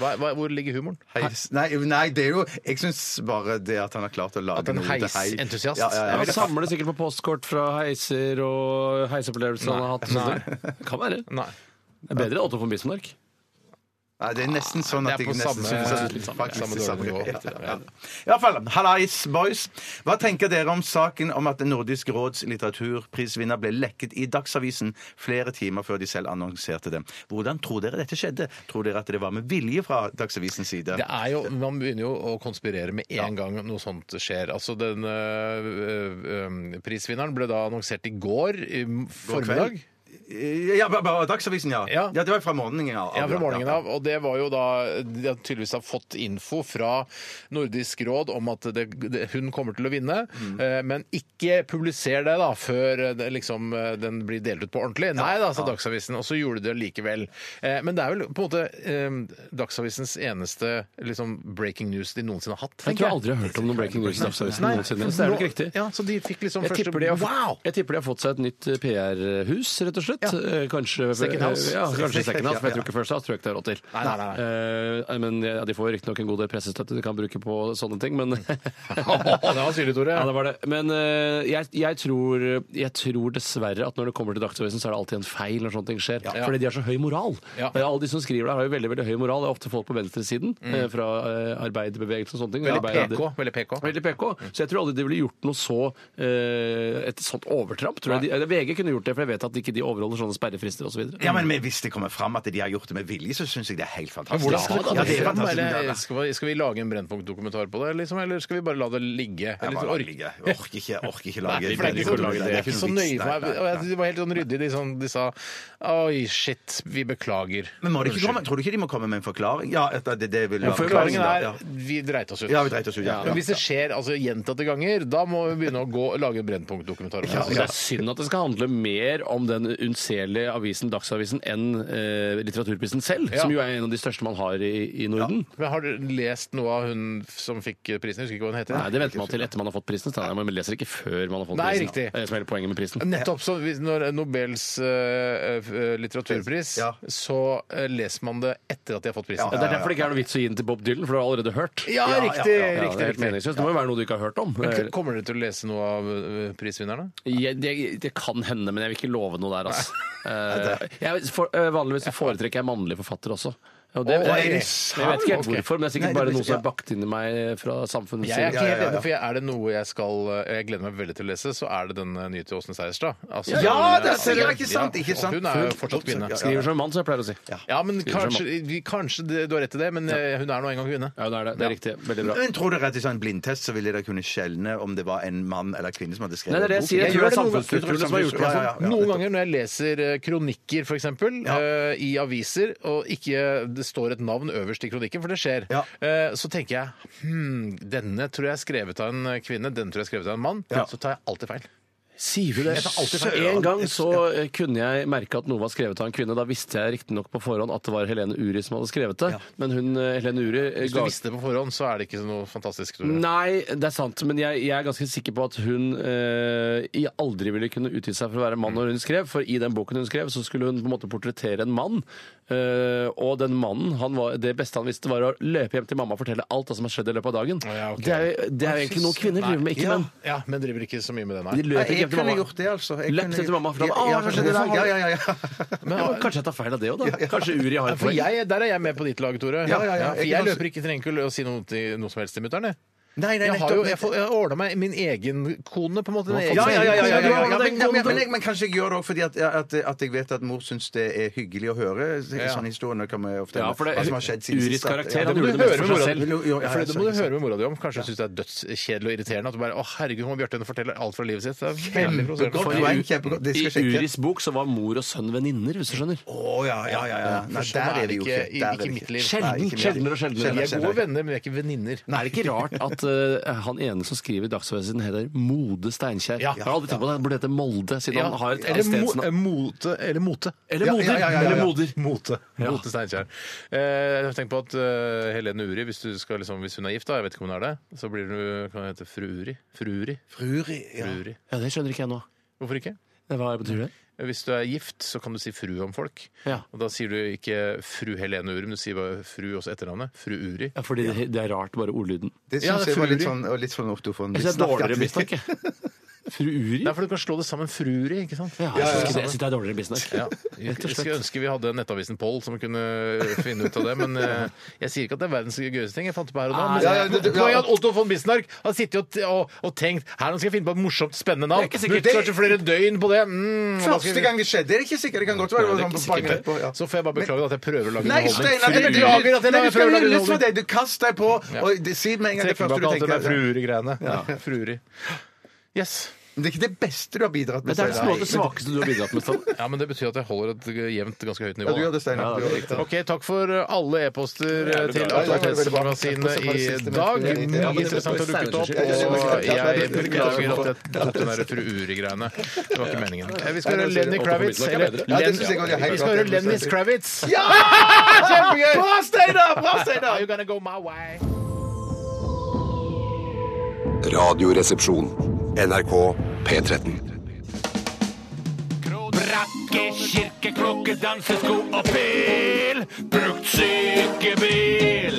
Hva, hva, hvor ligger humoren? Heis. Nei, nei, det er jo Jeg syns bare det at han har klart å lage At en noe til hei. heisentusiast. Ja, ja, Han ja. samler sikkert på postkort fra heiser og heisopplevelser han har hatt. og sånt. Kan være. Nei. Det er bedre enn Otto von Bismarck. Nei, det er nesten sånn at Det er jeg på nesten samme- synes at litt samme- faktisk samme det er dårlige nivå. Ja, ja. I hvert fall, Hallais, boys. Hva tenker dere om saken om at Nordisk råds litteraturprisvinner ble lekket i Dagsavisen flere timer før de selv annonserte det? Hvordan tror dere dette skjedde? Tror dere at det var med vilje fra Dagsavisens side? Det er jo, Man begynner jo å konspirere med en gang noe sånt skjer. Altså, den øh, øh, Prisvinneren ble da annonsert i går i formiddag. Eh, Ja, bare- bare Dagsavisen, ja. Ja. ja. Det var fra morgenen av. Ja, fra morgenen av. Og det var jo da De har tydeligvis har fått info fra Nordisk råd om at det, det, hun kommer til å vinne, Mm. eh, men ikke publiser det da før eh, det, liksom, eh, den blir delt ut på ordentlig. Nei da, sa Dagsavisen, og så gjorde de det likevel. Eh, Men det er vel på en måte eh, Dagsavisens eneste liksom, breaking news de noensinne har hatt. Jeg tror jeg aldri har hørt om noen breaking news i Dagsavisen Nei, noensinne. Så det er nok riktig. Ja, så de fikk liksom Jeg første tipper, de har, Wow! jeg tipper de har fått seg et nytt PR-hus, rett og slett. Eh, Kanskje Second house. Ja, kanskje second house, Ja, for jeg tror ikke First House tror jeg ikke det har råd til. Nei, nei, nei, Eh, men ja, De får riktignok en god del pressestøtte de kan bruke på sånne ting, men Det var syrlig, Tore. Ja, det var det. Men eh, jeg, jeg, tror, jeg tror dessverre at når det kommer til Dagsavisen, så er det alltid en feil når sånne ting skjer. Fordi de har så høy moral. Ja. Eh, Alle de som skriver der, har jo veldig veldig høy moral. Det er ofte folk på venstresiden eh, fra uh, arbeiderbevegelsen og sånne ting. Mm. Veldig Arbeider- PK. Veldig PK. Veldig PK. Så jeg tror aldri de ville gjort noe så eh, et sånt overtramp. Tror jeg. De, eller VG kunne gjort det, for jeg vet at ikke de overholder sånne sperrefrister osv. Ja, men med- hvis det kommer fram at de har gjort det med vilje, så syns jeg det er helt fantastisk. Hvordan skal, ja, det er fantastisk. eller, skal, vi, skal vi lage en Brennpunkt-dokumentar på det, liksom, eller skal vi bare la det ligge? Jeg Eller, bare ork- ligger. Jeg orker ikke, jeg orker ikke lage Nei, for det er ikke så- det er ikke så nøye for meg. Og jeg- meg. De var helt sånn ryddige. De, sånn, de sa Oi, shit, vi beklager. Men må det ikke komme, tror du ikke de må komme med en forklaring? Ja, at det, det vil Ja, være Forklaringen ja. er vi dreit oss ut. Ja, vi dreit oss ut, ja. Men hvis det skjer altså, gjentatte ganger, da må vi begynne å gå, lage en Brennpunkt-dokumentar. om det. Altså, Det er synd at det skal handle mer om den unnselige avisen Dagsavisen enn eh, litteraturprisen selv, Ja. som jo er en av de største man har i, i Norden. Men har du lest noe av hun som fikk prisen? Jeg husker ikke hva hun heter. Nei, Det venter man til etter man har fått prisen. så Man leser ikke før man har fått Nei, prisen. riktig. Det er som er hele poenget med prisen. Nettopp. Så hvis- når Nobels eh, eh, litteraturpris, Ja. så eh, leser man det etter at de har fått prisen. Ja, det er derfor det ikke er noe vits å gi den til Bob Dylan, for du har allerede hørt. Ja, Ja, riktig! ja, ja, Ja, det riktig, er helt riktig. meningsløst. Det må jo være noe du ikke har hørt om. Men k- Kommer dere til å lese noe av ø, prisvinnerne? Ja, det, det kan hende, men jeg vil ikke love noe der, altså. Eh, jeg, for, eh, vanligvis så foretrekker jeg mannlige forfattere også. Og Å, det, er det jeg, jeg, vet ikke helt sant? hvorfor, men det er Nei, sikkert det bare blir- noe som ja. er bakt inn i meg fra samfunnets Jeg er ikke side. ja, helt ja, enig, ja. for jeg- er det noe jeg skal eh, Jeg gleder meg veldig til å lese, så er det den ø, nye til Åsne Seierstad. Altså, Ja, hun, det ø, ser jeg, ikke sant, ikke sant. og Hun er jo fortsatt kvinne. Ja, Skriver som en mann, som jeg pleier å si. Ja, men Skriver som kanskje, vi- kanskje det, du har rett i det, men ø, hun er nå engang kvinne. Ja, det er det. Det er riktig. Veldig bra. Men tror dere at i sånn blindtest så ville dere kunne skjelne om det var en mann eller kvinne som hadde skrevet Nei, det er det jeg boken? sier. Jeg tror det er gjør noen ganger. samfunnsstrukturene som har gjort det. Ja, ja, ja, Noen ja, nettopp. ganger når jeg leser eh, kronikker, f.eks., eksempel Ja. eh, i aviser, og ikke eh, det står et navn øverst i kronikken, for det skjer, Ja. eh, så tenker jeg hm, denne tror jeg er skrevet av en kvinne, den tror jeg er skrevet av en mann. Så tar jeg alltid feil. Sier du det? Jeg tar alltid feil. En gang så eh, kunne jeg merke at noe var skrevet av en kvinne. Da visste jeg riktignok på forhånd at det var Helene Uri som hadde skrevet det. Men hun, eh, Helene Uri eh, Hvis du ga visste det på forhånd, så er det ikke så noe fantastisk. Tore. Nei, det er sant, men jeg, jeg er ganske sikker på at hun eh, i- aldri ville kunne utgi seg for å være mann når hun skrev, for i den boken hun skrev, så skulle hun på en måte portrettere en mann. eh, og den mannen, han var, det beste han visste, var å løpe hjem til mamma og fortelle alt det som har skjedd i løpet av dagen. Å, ja, ok. Det er jo det er jo egentlig noe kvinner driver med, ikke Ja. menn. Ja, men driver ikke så mye med det, De nei. løper ikke Jeg hjem jeg kunne gjort det, altså. Jeg Løpt kunne etter gjort- mamma, for da- Ja, ja, Å, hva skjedde i dag? Ja, ja, ja, ja. Men, ja, men kanskje jeg tar feil av det òg, da. Kanskje Uri Ja, har et for poeng. jeg, der er jeg med på ditt lag, Tore. Ja, ja, ja. for Jeg jeg kan også- løper ikke til enkel å si noe, til, noe som helst til mutter'n. jeg. Nei, nei, Jeg har nettopp, jo jeg får- jeg har ordna meg min egen kone, på en måte. min egen- Ja, ja, ja, ja, ja, ja, ja, Ja, men, det men, kom men, til- jeg, men kanskje jeg gjør det òg fordi at, at, at jeg vet at mor syns det er hyggelig å høre Ja. sånne historier. Kan vi ofte, Ja, for det- hva som har skjedd siden Uris sist, at- karakter, ja, han det- gjorde du det mest høre for med seg mora selv. di. Jo, jo, ja, For det må du sant, høre med mora di om. Kanskje hun syns det er dødskjedelig og irriterende. At du bare, å herregud, nå må Bjarte fortelle alt fra livet sitt. Det er veldig Godt provoserende. poeng, kjempegodt. Det I skal jeg sjekke. Uris bok så var mor og sønn venninner, hvis du skjønner. Å ja, ja, ja. ja. Nei, sånn der er er vi jo det ikke. ikke i- Der er ikke vi i mitt liv. Nei, Sjelden, ikke mer. sjeldnere og sjeldnere. Vi Sjelden. er gode venner, men vi er ikke venninner. Er det ikke rart at eh, han ene som skriver i Dagsavisen, heter Mode Steinkjer? Ja. Jeg har aldri tenkt på det. Han burde hete Molde, siden Ja, han har et eller, mo, stedsnavn. mote, eller mote. Eller Ja, moder. ja, ja, ja, ja. Eller moder. Mote. Ja. Mote Steinkjer. Eh, tenk på at eh, Helene Uri, hvis, du skal, liksom, hvis hun er gift, da, jeg vet ikke om hun er det, så blir hun, kan hun hete fru Uri. Fru Uri. Fruri, ja. Fru Uri. Ja, det skjønner ikke jeg nå. Hvorfor ikke? Hva betyr det? Hvis du er gift, så kan du si fru om folk. Ja. Og da sier du ikke fru Helene Uri, men du sier bare fru også etternavnet. Fru Uri. Ja, fordi det, det er rart, bare ordlyden. Det Ja, syns det er jeg var litt Fruri. sånn, og litt sånn ortofon. Jeg synes det er dårligere bisnakk, jeg. Fru Uri? Nei, for du kan slå det sammen Fruri, ikke sant? Ja, jeg syns det, jeg synes det er dårligere bisnakk. Ja. Jeg Rett og skulle slett. ønske vi hadde nettavisen Poll som kunne finne ut av det, men eh, jeg sier ikke at det er verdens gøyeste ting jeg fant på her og nå. Men Ja, ja, det- det- ja. poenget er at Otto von Bismarck har sittet og, og, og tenkt her nå skal jeg finne på et morsomt, spennende navn. Det er ikke sikkert. Brukte kanskje flere døgn på det. Mm, hva skal Første jeg- gang det skjedde, er det ikke sikkert. Det kan godt være. Det er ikke sikkert det. På, ja. Så får jeg bare beklage at jeg prøver å lage Nei, underholdning. Steinar, jeg Fru Uri. beklager at Nei, jeg lager vi skal prøvelage lage for deg. Du kast deg på, og det- si med en gang det Trekker første meg du på alt det der tenker. frueri-greiene. Ja, frueri. Yes. Men det er ikke det beste du har bidratt med. Men det er liksom Steinar. noe av det svakeste du har bidratt med. Stan. Ja, men det betyr at jeg holder et eh, jevnt ganske høyt Ja, nivå. du gjør det, Ja, Steinar. det Du er gjør det. Ok, takk for eh, alle e-poster eh, Ja, det er til bra. Aktualitetsmagasinet i dag. Mye interessant har dukket opp, og jeg beklager at jeg tok den der frueri-greiene. Det var ikke meningen. Eh, Vi skal høre Lenny Kravitz. Eller, Ja, det synes jeg går helt vi skal høre klart. Lenny Kravitz. Ja! Kjempegøy! Bra, Steinar! Bra, Steinar! Are you gonna go my way? Radioresepsjon. NRK P13. Brakke, kirkeklokke, dansesko og pil. Brukt sykebil.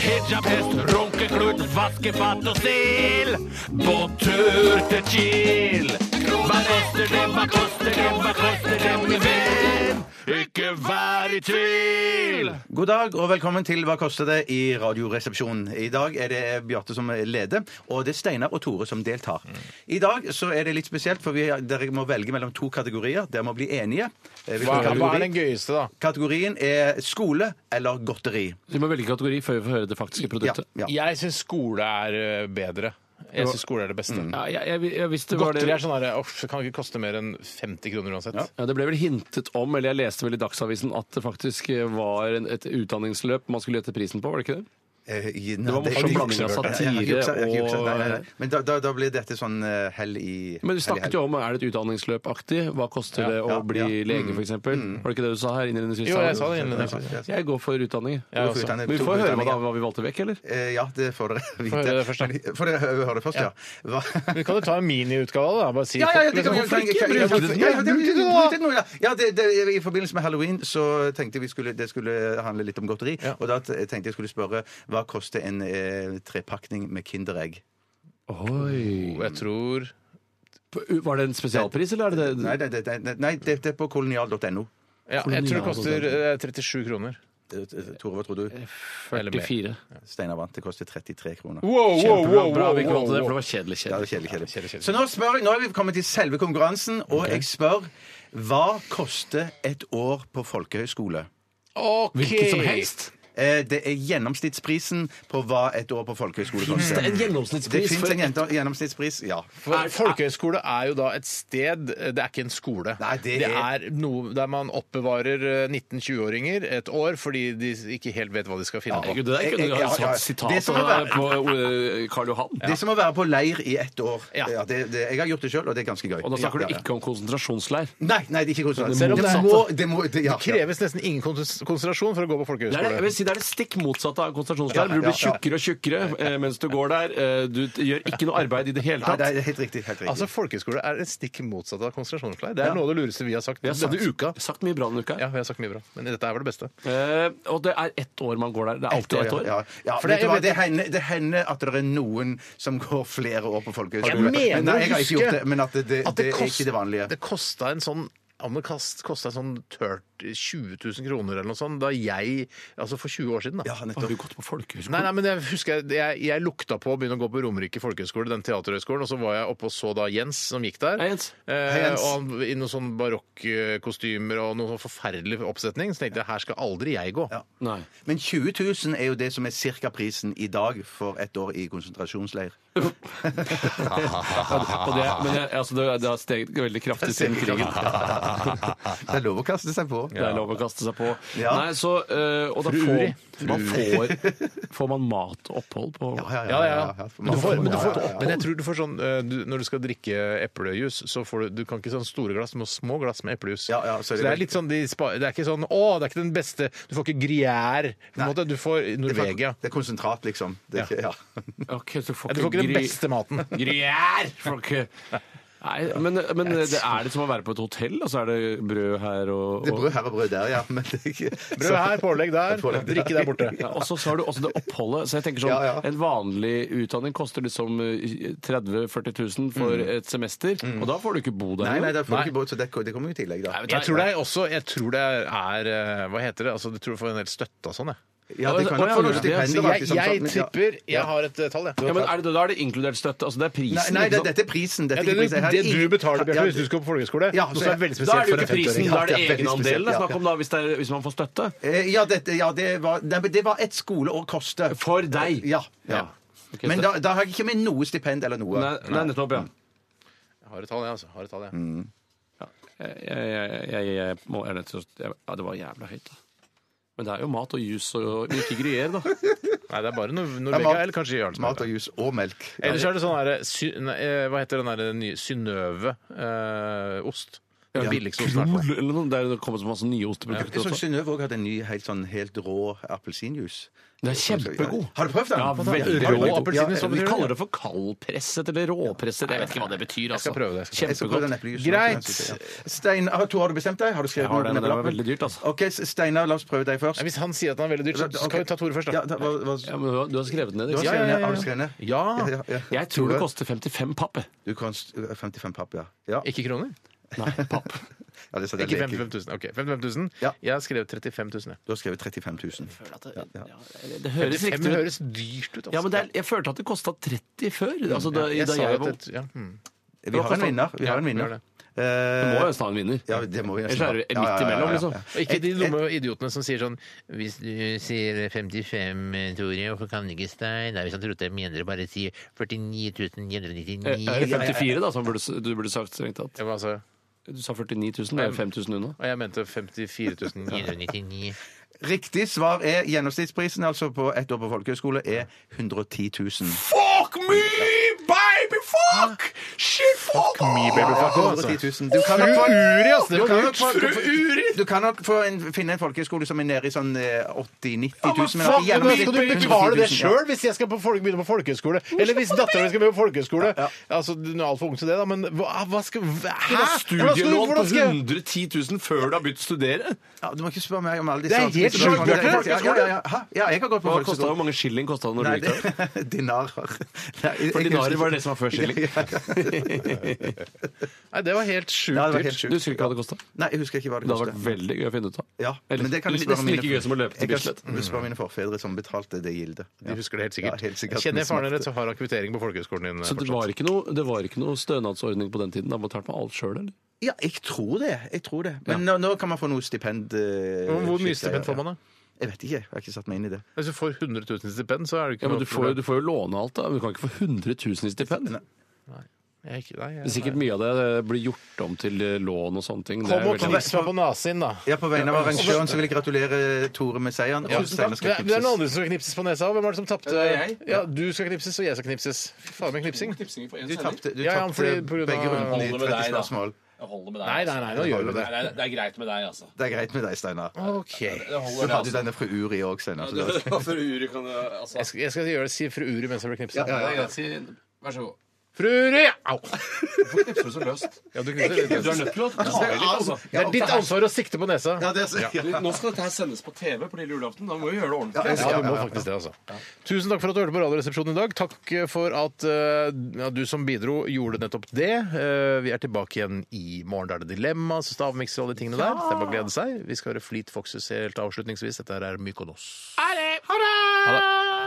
Hijabhest, runkeklut, vaskefat og stil. På tur til Kiel. Hva koster det, hva koster det, hva koster det, min venn? Ikke vær i tvil! God dag og velkommen til Hva koster det? i Radioresepsjonen. I dag er det Bjarte som leder, og det er Steinar og Tore som deltar. I dag så er det litt spesielt, for vi, dere må velge mellom to kategorier. Dere må bli enige. Eh, hvilken Hva hva er kategori? den gøyeste, da? Kategorien er skole eller godteri. Vi må velge kategori før vi får høre det faktiske produktet. Ja. Jeg syns skole er eh, bedre. Jeg syns skole er det beste. Ja, jeg, jeg, jeg visste hva Godteri det- er sånn her, uff, det kan ikke koste mer enn 50 kroner uansett. Ja, Det ble vel hintet om, eller jeg leste vel i Dagsavisen, at det faktisk eh, var en, et utdanningsløp man skulle gjette prisen på, var det ikke det? Eh, i- Det var nei, morsom jeg jukser. blanding av satire Jeg jukser, jeg jukser. og- Nei, nei, nei. Men da, da, da blir dette sånn eh, hell i Men du hell i snakket jo om er det et utdanningsløp-aktig? Hva koster det å ja, bli ja. lege, f.eks.? Var det ikke det du Mm. sa her? innledningsvis? Jo, jeg sa det innledningsvis. hell. Jeg går for utdanning. Ja, også. Men vi får høre hva, da, hva vi valgte vekk, eller? Eh, Ja, det får dere vite. høre det først, da. Får dere hø- høre det først, ja. Hva- Men kan du ta en miniutgave, da? Bare si Ja, ja, ja, det liksom, kan vi- hvorfor kan- ikke? kan- ja, Bruk ja, det ja, det- til det- noe, bruk det til noe, ja. Ja, det- det- I forbindelse med halloween så tenkte jeg vi skulle, det skulle handle litt om godteri. Ja. Og da t- tenkte jeg skulle spørre hva koster en eh, trepakning med Kinderegg? Oi. da. Jeg tror Var det en spesialpris, eller er det det? Nei, det, det, det, nei, det, det er på kolonial.no. ja, Jeg tror det koster eh, 37 kroner. Eh, Tore, hva tror du? Eller mer. 44. Steinar vant. Det koster 33 kroner. Kjempebra. Bra vi ikke valgte det, for det var kjedelig. Ja, det kjedelig. er kjedelig, kjedelig. Kjedelig, kjedelig. Så nå, spør, jeg- nå er vi kommet til selve konkurransen, og jeg spør hva koster et år på folkehøyskole? Ok. Hvilket som helst. Eh, Det er gjennomsnittsprisen på hva et år på folkehøyskole koster. Det er en Det gjennomsnittspris. fins for- en jenta- gjennomsnittspris, ja. For folkehøyskole er jo da et sted, det er ikke en skole. Nei, det er noe der man oppbevarer eh, 19-20-åringer et år fordi de ikke helt vet hva de skal finne på. Herregud, det der kunne du Ja, ja, ha ja. satt Det sitat som er av på eh, Karl Johan. Det er som å være på leir i ett år. Ja. Ja. det, det, jeg har gjort det sjøl, og det er ganske gøy. Og da snakker Ja, du ja, ja. ikke om konsentrasjonsleir. Nei, nei, det er ikke konstant. Selv om det er- må, det må, det, ja, Det kreves nesten ingen kons- konsentrasjon for å gå på Det er, det- folkehøyskole. jeg vil si det det er det stikk motsatte av konsentrasjonsleir. Du blir tjukkere og tjukkere eh, mens du går der. Eh, Du t- gjør ikke noe arbeid i det hele Nei, det tatt. er helt riktig. Helt riktig. Altså, Folkehøyskole er det stikk motsatt av konsentrasjonsleir. Det er Ja. noe av det lureste vi har sagt Vi har sagt, denne uka. sagt mye bra denne uka. Ja, vi har sagt mye bra, men dette er vel det beste. Eh, og det er ett år man går der. Det er alltid ett år. ja, ja, For vet det- du jeg vet- hva, det hender det hender at det er noen som går flere år på folkehøyskole. Jeg mener Nei, jeg å har ikke huske gjort det, men at det, det, at det er kost- ikke det vanlige. Det kosta en sånn om det kast- kosta en sånn tørt 20 000 kroner eller noe sånt da jeg Altså for 20 år siden, da. Har du gått på folkehøyskole? Nei, nei, men jeg husker jeg, jeg, jeg lukta på å begynne å gå på Romerike folkehøgskole, den teaterhøgskolen, og så var jeg oppe og så da Jens som gikk der. Hei, Jens. Eh, Hei, Jens. Og han, I noen sånn barokkostymer og noen sånn forferdelig oppsetning. Så tenkte jeg her skal aldri jeg gå. Ja. Nei. Men 20 000 er jo det som er cirka prisen i dag for et år i konsentrasjonsleir. Og det, men jeg, altså det, det har steget veldig kraftig siden krigen. Det er lov å kaste seg på. Det er lov å kaste seg på. Ja. Nei, så, eh, og da Fru får, Uri. man får, får man mat og opphold på Ja, ja, ja. Men, du får, men, du Ja, får, ja, ja. men jeg tror du får sånn eh, du, Når du skal drikke eplejus, så får du Du kan ikke sånn store glass, men små glass med eplejus. Ja, ja, så så er det det er vel- litt sånn de spa, Det er ikke sånn Å, det er ikke den beste Du får ikke Gruyère, på en måte. Du får Det er, Norvegia. det er konsentrat, liksom. Det er ikke, ja. Ok, så Ja, du får ikke den gry- beste maten. Gruyère! Får ikke- Nei, men, men det er det som å være på et hotell? Altså er det brød her og, Det er og brød her og brød der, ja. Men det er ikke Brød her, pålegg der, Pålegg der. drikke der borte. ja, og så så har du også det oppholdet. Så jeg tenker sånn, Ja, ja. En vanlig utdanning koster liksom eh, 30 000-40 000 for et semester. Og da får du ikke bo der. Nei, nei, jo. da får du ikke båt, så det, det kommer jo i tillegg, da. Jeg tror det er også Jeg tror det er eh, Hva heter det? Altså, du tror du får en del støtte og sånn, jeg. Ja, det kan Og- jo og- få noe og- stipend Så og alt jeg, liksom sånt, jeg men ja. tipper Jeg har et eh, tall, jeg. ja, men er det, da er det inkludert støtte. Altså det er prisen. Nei, nei ikke det, sant? dette er prisen. Dette Ja, er det, ikke prisen. Jeg har det du ingen- betaler, Ja, Bjarte, hvis du skal på folkehøyskole, Ja, noe så som jeg- er veldig Da er spesielt det jo for en ikke prisen, 50-åring. da er Ja, det det er veldig egenandelen det er spesielt, ja. snakk om da, hvis, det er, hvis man får støtte. Eh, Ja, dette, ja det, var, nei, men det var et skoleår koste. Eh, For deg. Ja. ja. Ok, Men så- da, da har jeg ikke med noe stipend eller noe. Nei, nei, nettopp, ja. Jeg har et tall, jeg, altså. Jeg Har et tall, jeg. Jeg, Eh, jeg, jeg, jeg, må, jeg, er nødt til å- jeg, ja, det var jævla høyt, da. Men det er jo mat og jus og men ikke gruyere, da. Nei, det er bare Nor- Ja, mat- Norvegia eller kanskje Jarlsberg. Mat og jus og melk. Ellers er det sånn derre sy- nei, eh, Hva heter den derre nye eh, Synnøve-ost? Den billigste osten. i hvert fall. Eller noe sånt. Det er- det kommer så masse nye osteprodukter Jeg så også. Synnøve òg hadde en ny helt sånn helt rå appelsinjuice. Det er sånn- kjempegod. Har du prøvd den? Ja, veldig Har du rå prøvd den? appelsin i Ja, sånn- Vi kaller det for kaldpresset eller råpresset. Jeg vet ikke hva det betyr. skal Altså. prøve det, jeg skal jeg skal prøve den Kjempegodt. eplejusen. Greit. Stein, har, to, har du bestemt deg? Har du skrevet Jeg har noe den, ned på den var lappen? veldig dyrt, altså. Ok, S- Steinar, la oss prøve deg først. Nei, Hvis han sier at den er veldig dyr, så Ok. skal vi ta Tore først, Ja, da. da, hva, hva, Ja, men du har- du har skrevet den ned. du har ikke sant? skrevet ja, ned? ja, Har du ja. skrevet ned? Ja. Jeg tror det koster 55 papp. jeg. Du kan s- 55 papp, ja. ja. Ikke kroner? Nei, papp. ja det er så det Ikke er leke. 55 000. Ok, 55 000. Ja. Jeg har skrevet 35 000. jeg. Du har skrevet 35 000. Det, det høres Fem riktig ut. høres dyrt ut, altså. Ja, men det er, jeg følte at det kosta 30 før. Mm, Altså, da, jeg da sa jo jeg at var et- ja, mm. Vi har en vinner. Vi har en Ja, vi har vinner. det. Du må Eh, jo nesten ha en vinner. ja, det må vi nesten Ellers er ha. det midt Ja, ja, ja, ja, imellom, ja. liksom. Og ikke de dumme idiotene som sier sånn Hvis du sier 55, Tore, hvorfor kan du ikke Stein? Nei, hvis han trodde jeg mener bare sier 49 Eh, Er 999. det 54, da, som burde, du burde sagt strengt tatt? Ja, men altså, Du sa 49 000, det er jo 5000 unna. og jeg mente 54 999. Riktig svar er gjennomsnittsprisen altså på ett år på folkehøyskole er 110 000. Fuck me, baby, fuck! Shit, fuck! Mye babyfuck også, 110 altså. 000. Du kan nok få, Uri, altså! Det du var kan kult. nok få, du får- du kan nok få en, finne en folkehøyskole som er nede i sånn 80 000-90 000. Men at Fuck, det men skal du gjennomsnitt- betale det 110 000, ja. sjøl hvis jeg skal på folk, begynne på folkehøyskole? Eller hvis dattera mi skal begynne på folkehøyskole? Altså, du er altfor ung til det, da, men hva, hva skal hva- Hæ? Du Hvordan skal du- har studielån på hvordan skal jeg- 110 000 før du har begynt å studere! Ja, du må ikke spørre meg om alle Det er disse helt Ja, sjukt, Bjarte. ja, ja, ja, ja. Hæ? Ja, jeg har gått på Hva kostet, folkehøyskole. hvor mange skilling kosta det når Nei, du gikk der? det- dinarer. Nei, jeg- For jeg dinarer husker var det som var før skilling. Ja, ja, ja. Nei, det var helt sjukt Ja, det var dyrt. helt Du sjukt. husker ikke hva det kosta? Det Nei, jeg husker ikke hva det hadde kostet. vært veldig gøy å finne ut av. Ja, Eller- men det kan jeg spørre nesten mine like gøy som å løpe til Jeg kan Bislett. sp- spørre mine forfedre som betalte det gildet. De husker det helt sikkert. Ja, helt sikkert. Kjenner jeg faren din Smakte. rett, så har han kvittering på folkehøyskolen din. eh, Så det fortsatt. var ikke noe, det var ikke noe stønadsordning på den tiden? Da betalte man alt sjøl, eller? Ja, jeg tror det. jeg tror det. Men nå, nå kan man få noe stipend. eh, Men Hvor mye skikkelig, stipend får man, da? Altså, Ja. Jeg vet ikke. Jeg har ikke satt meg inn i det. Hvis du får 100 000 i stipend, så er det ikke Ja, men noe du får, jo- problem. du får jo låne alt, da. men Du kan ikke få 100 000 i stipend. Jeg er ikke- nei, jeg- Men Sikkert mye av det eh, blir gjort om til eh, lån og sånne ting. Det Kom er og veldig- knips meg på nesen, da. Ja, På vegne av arrangøren så vil jeg gratulere Tore med seieren. Ja, Og Steinar det, skal er, det er knipses. noen andre som skal knipses på nesa. Hvem er det som tapte? Det er jeg. Ja, du skal knipses, og jeg skal knipses. Fy faen meg knipsing. Du tapte du Ja, ja, tapte fordi på grunn av- begge rundene i Holder med 30 deg, da. spørsmål. Jeg holder med deg. Nei, nei, nei, nå gjør vi det. det. er, det er greit med deg, altså. Det er greit med deg, Steinar. OK. Det Du holder, det, hadde jo altså. denne fru Uri òg, Steinar. så det var- For Uri kan du altså. Jeg skal, jeg skal gjøre det, si fru Uri mens jeg blir knipsa. Det er greit. Si vær så god. Fru Uri! Au! Hvorfor knipser du så løst? Ja, du knipser litt. Du er nødt til å ta i litt, altså. Det er ditt ansvar å sikte på nesa. Ja, det er- Du, Nå skal dette her sendes på TV på lille julaften. Da må vi gjøre det ordentlig. Ja, vi må faktisk det, altså. Tusen takk for at du hørte på Radioresepsjonen i dag. Takk for at eh, ja, du som bidro, gjorde nettopp det. Eh, vi er tilbake igjen i morgen. Da er det dilemma, så stavmikser og alle de tingene der. Det er bare å glede seg. Vi skal høre Fleet Foxes helt avslutningsvis. Dette her er Mykonos. Dette er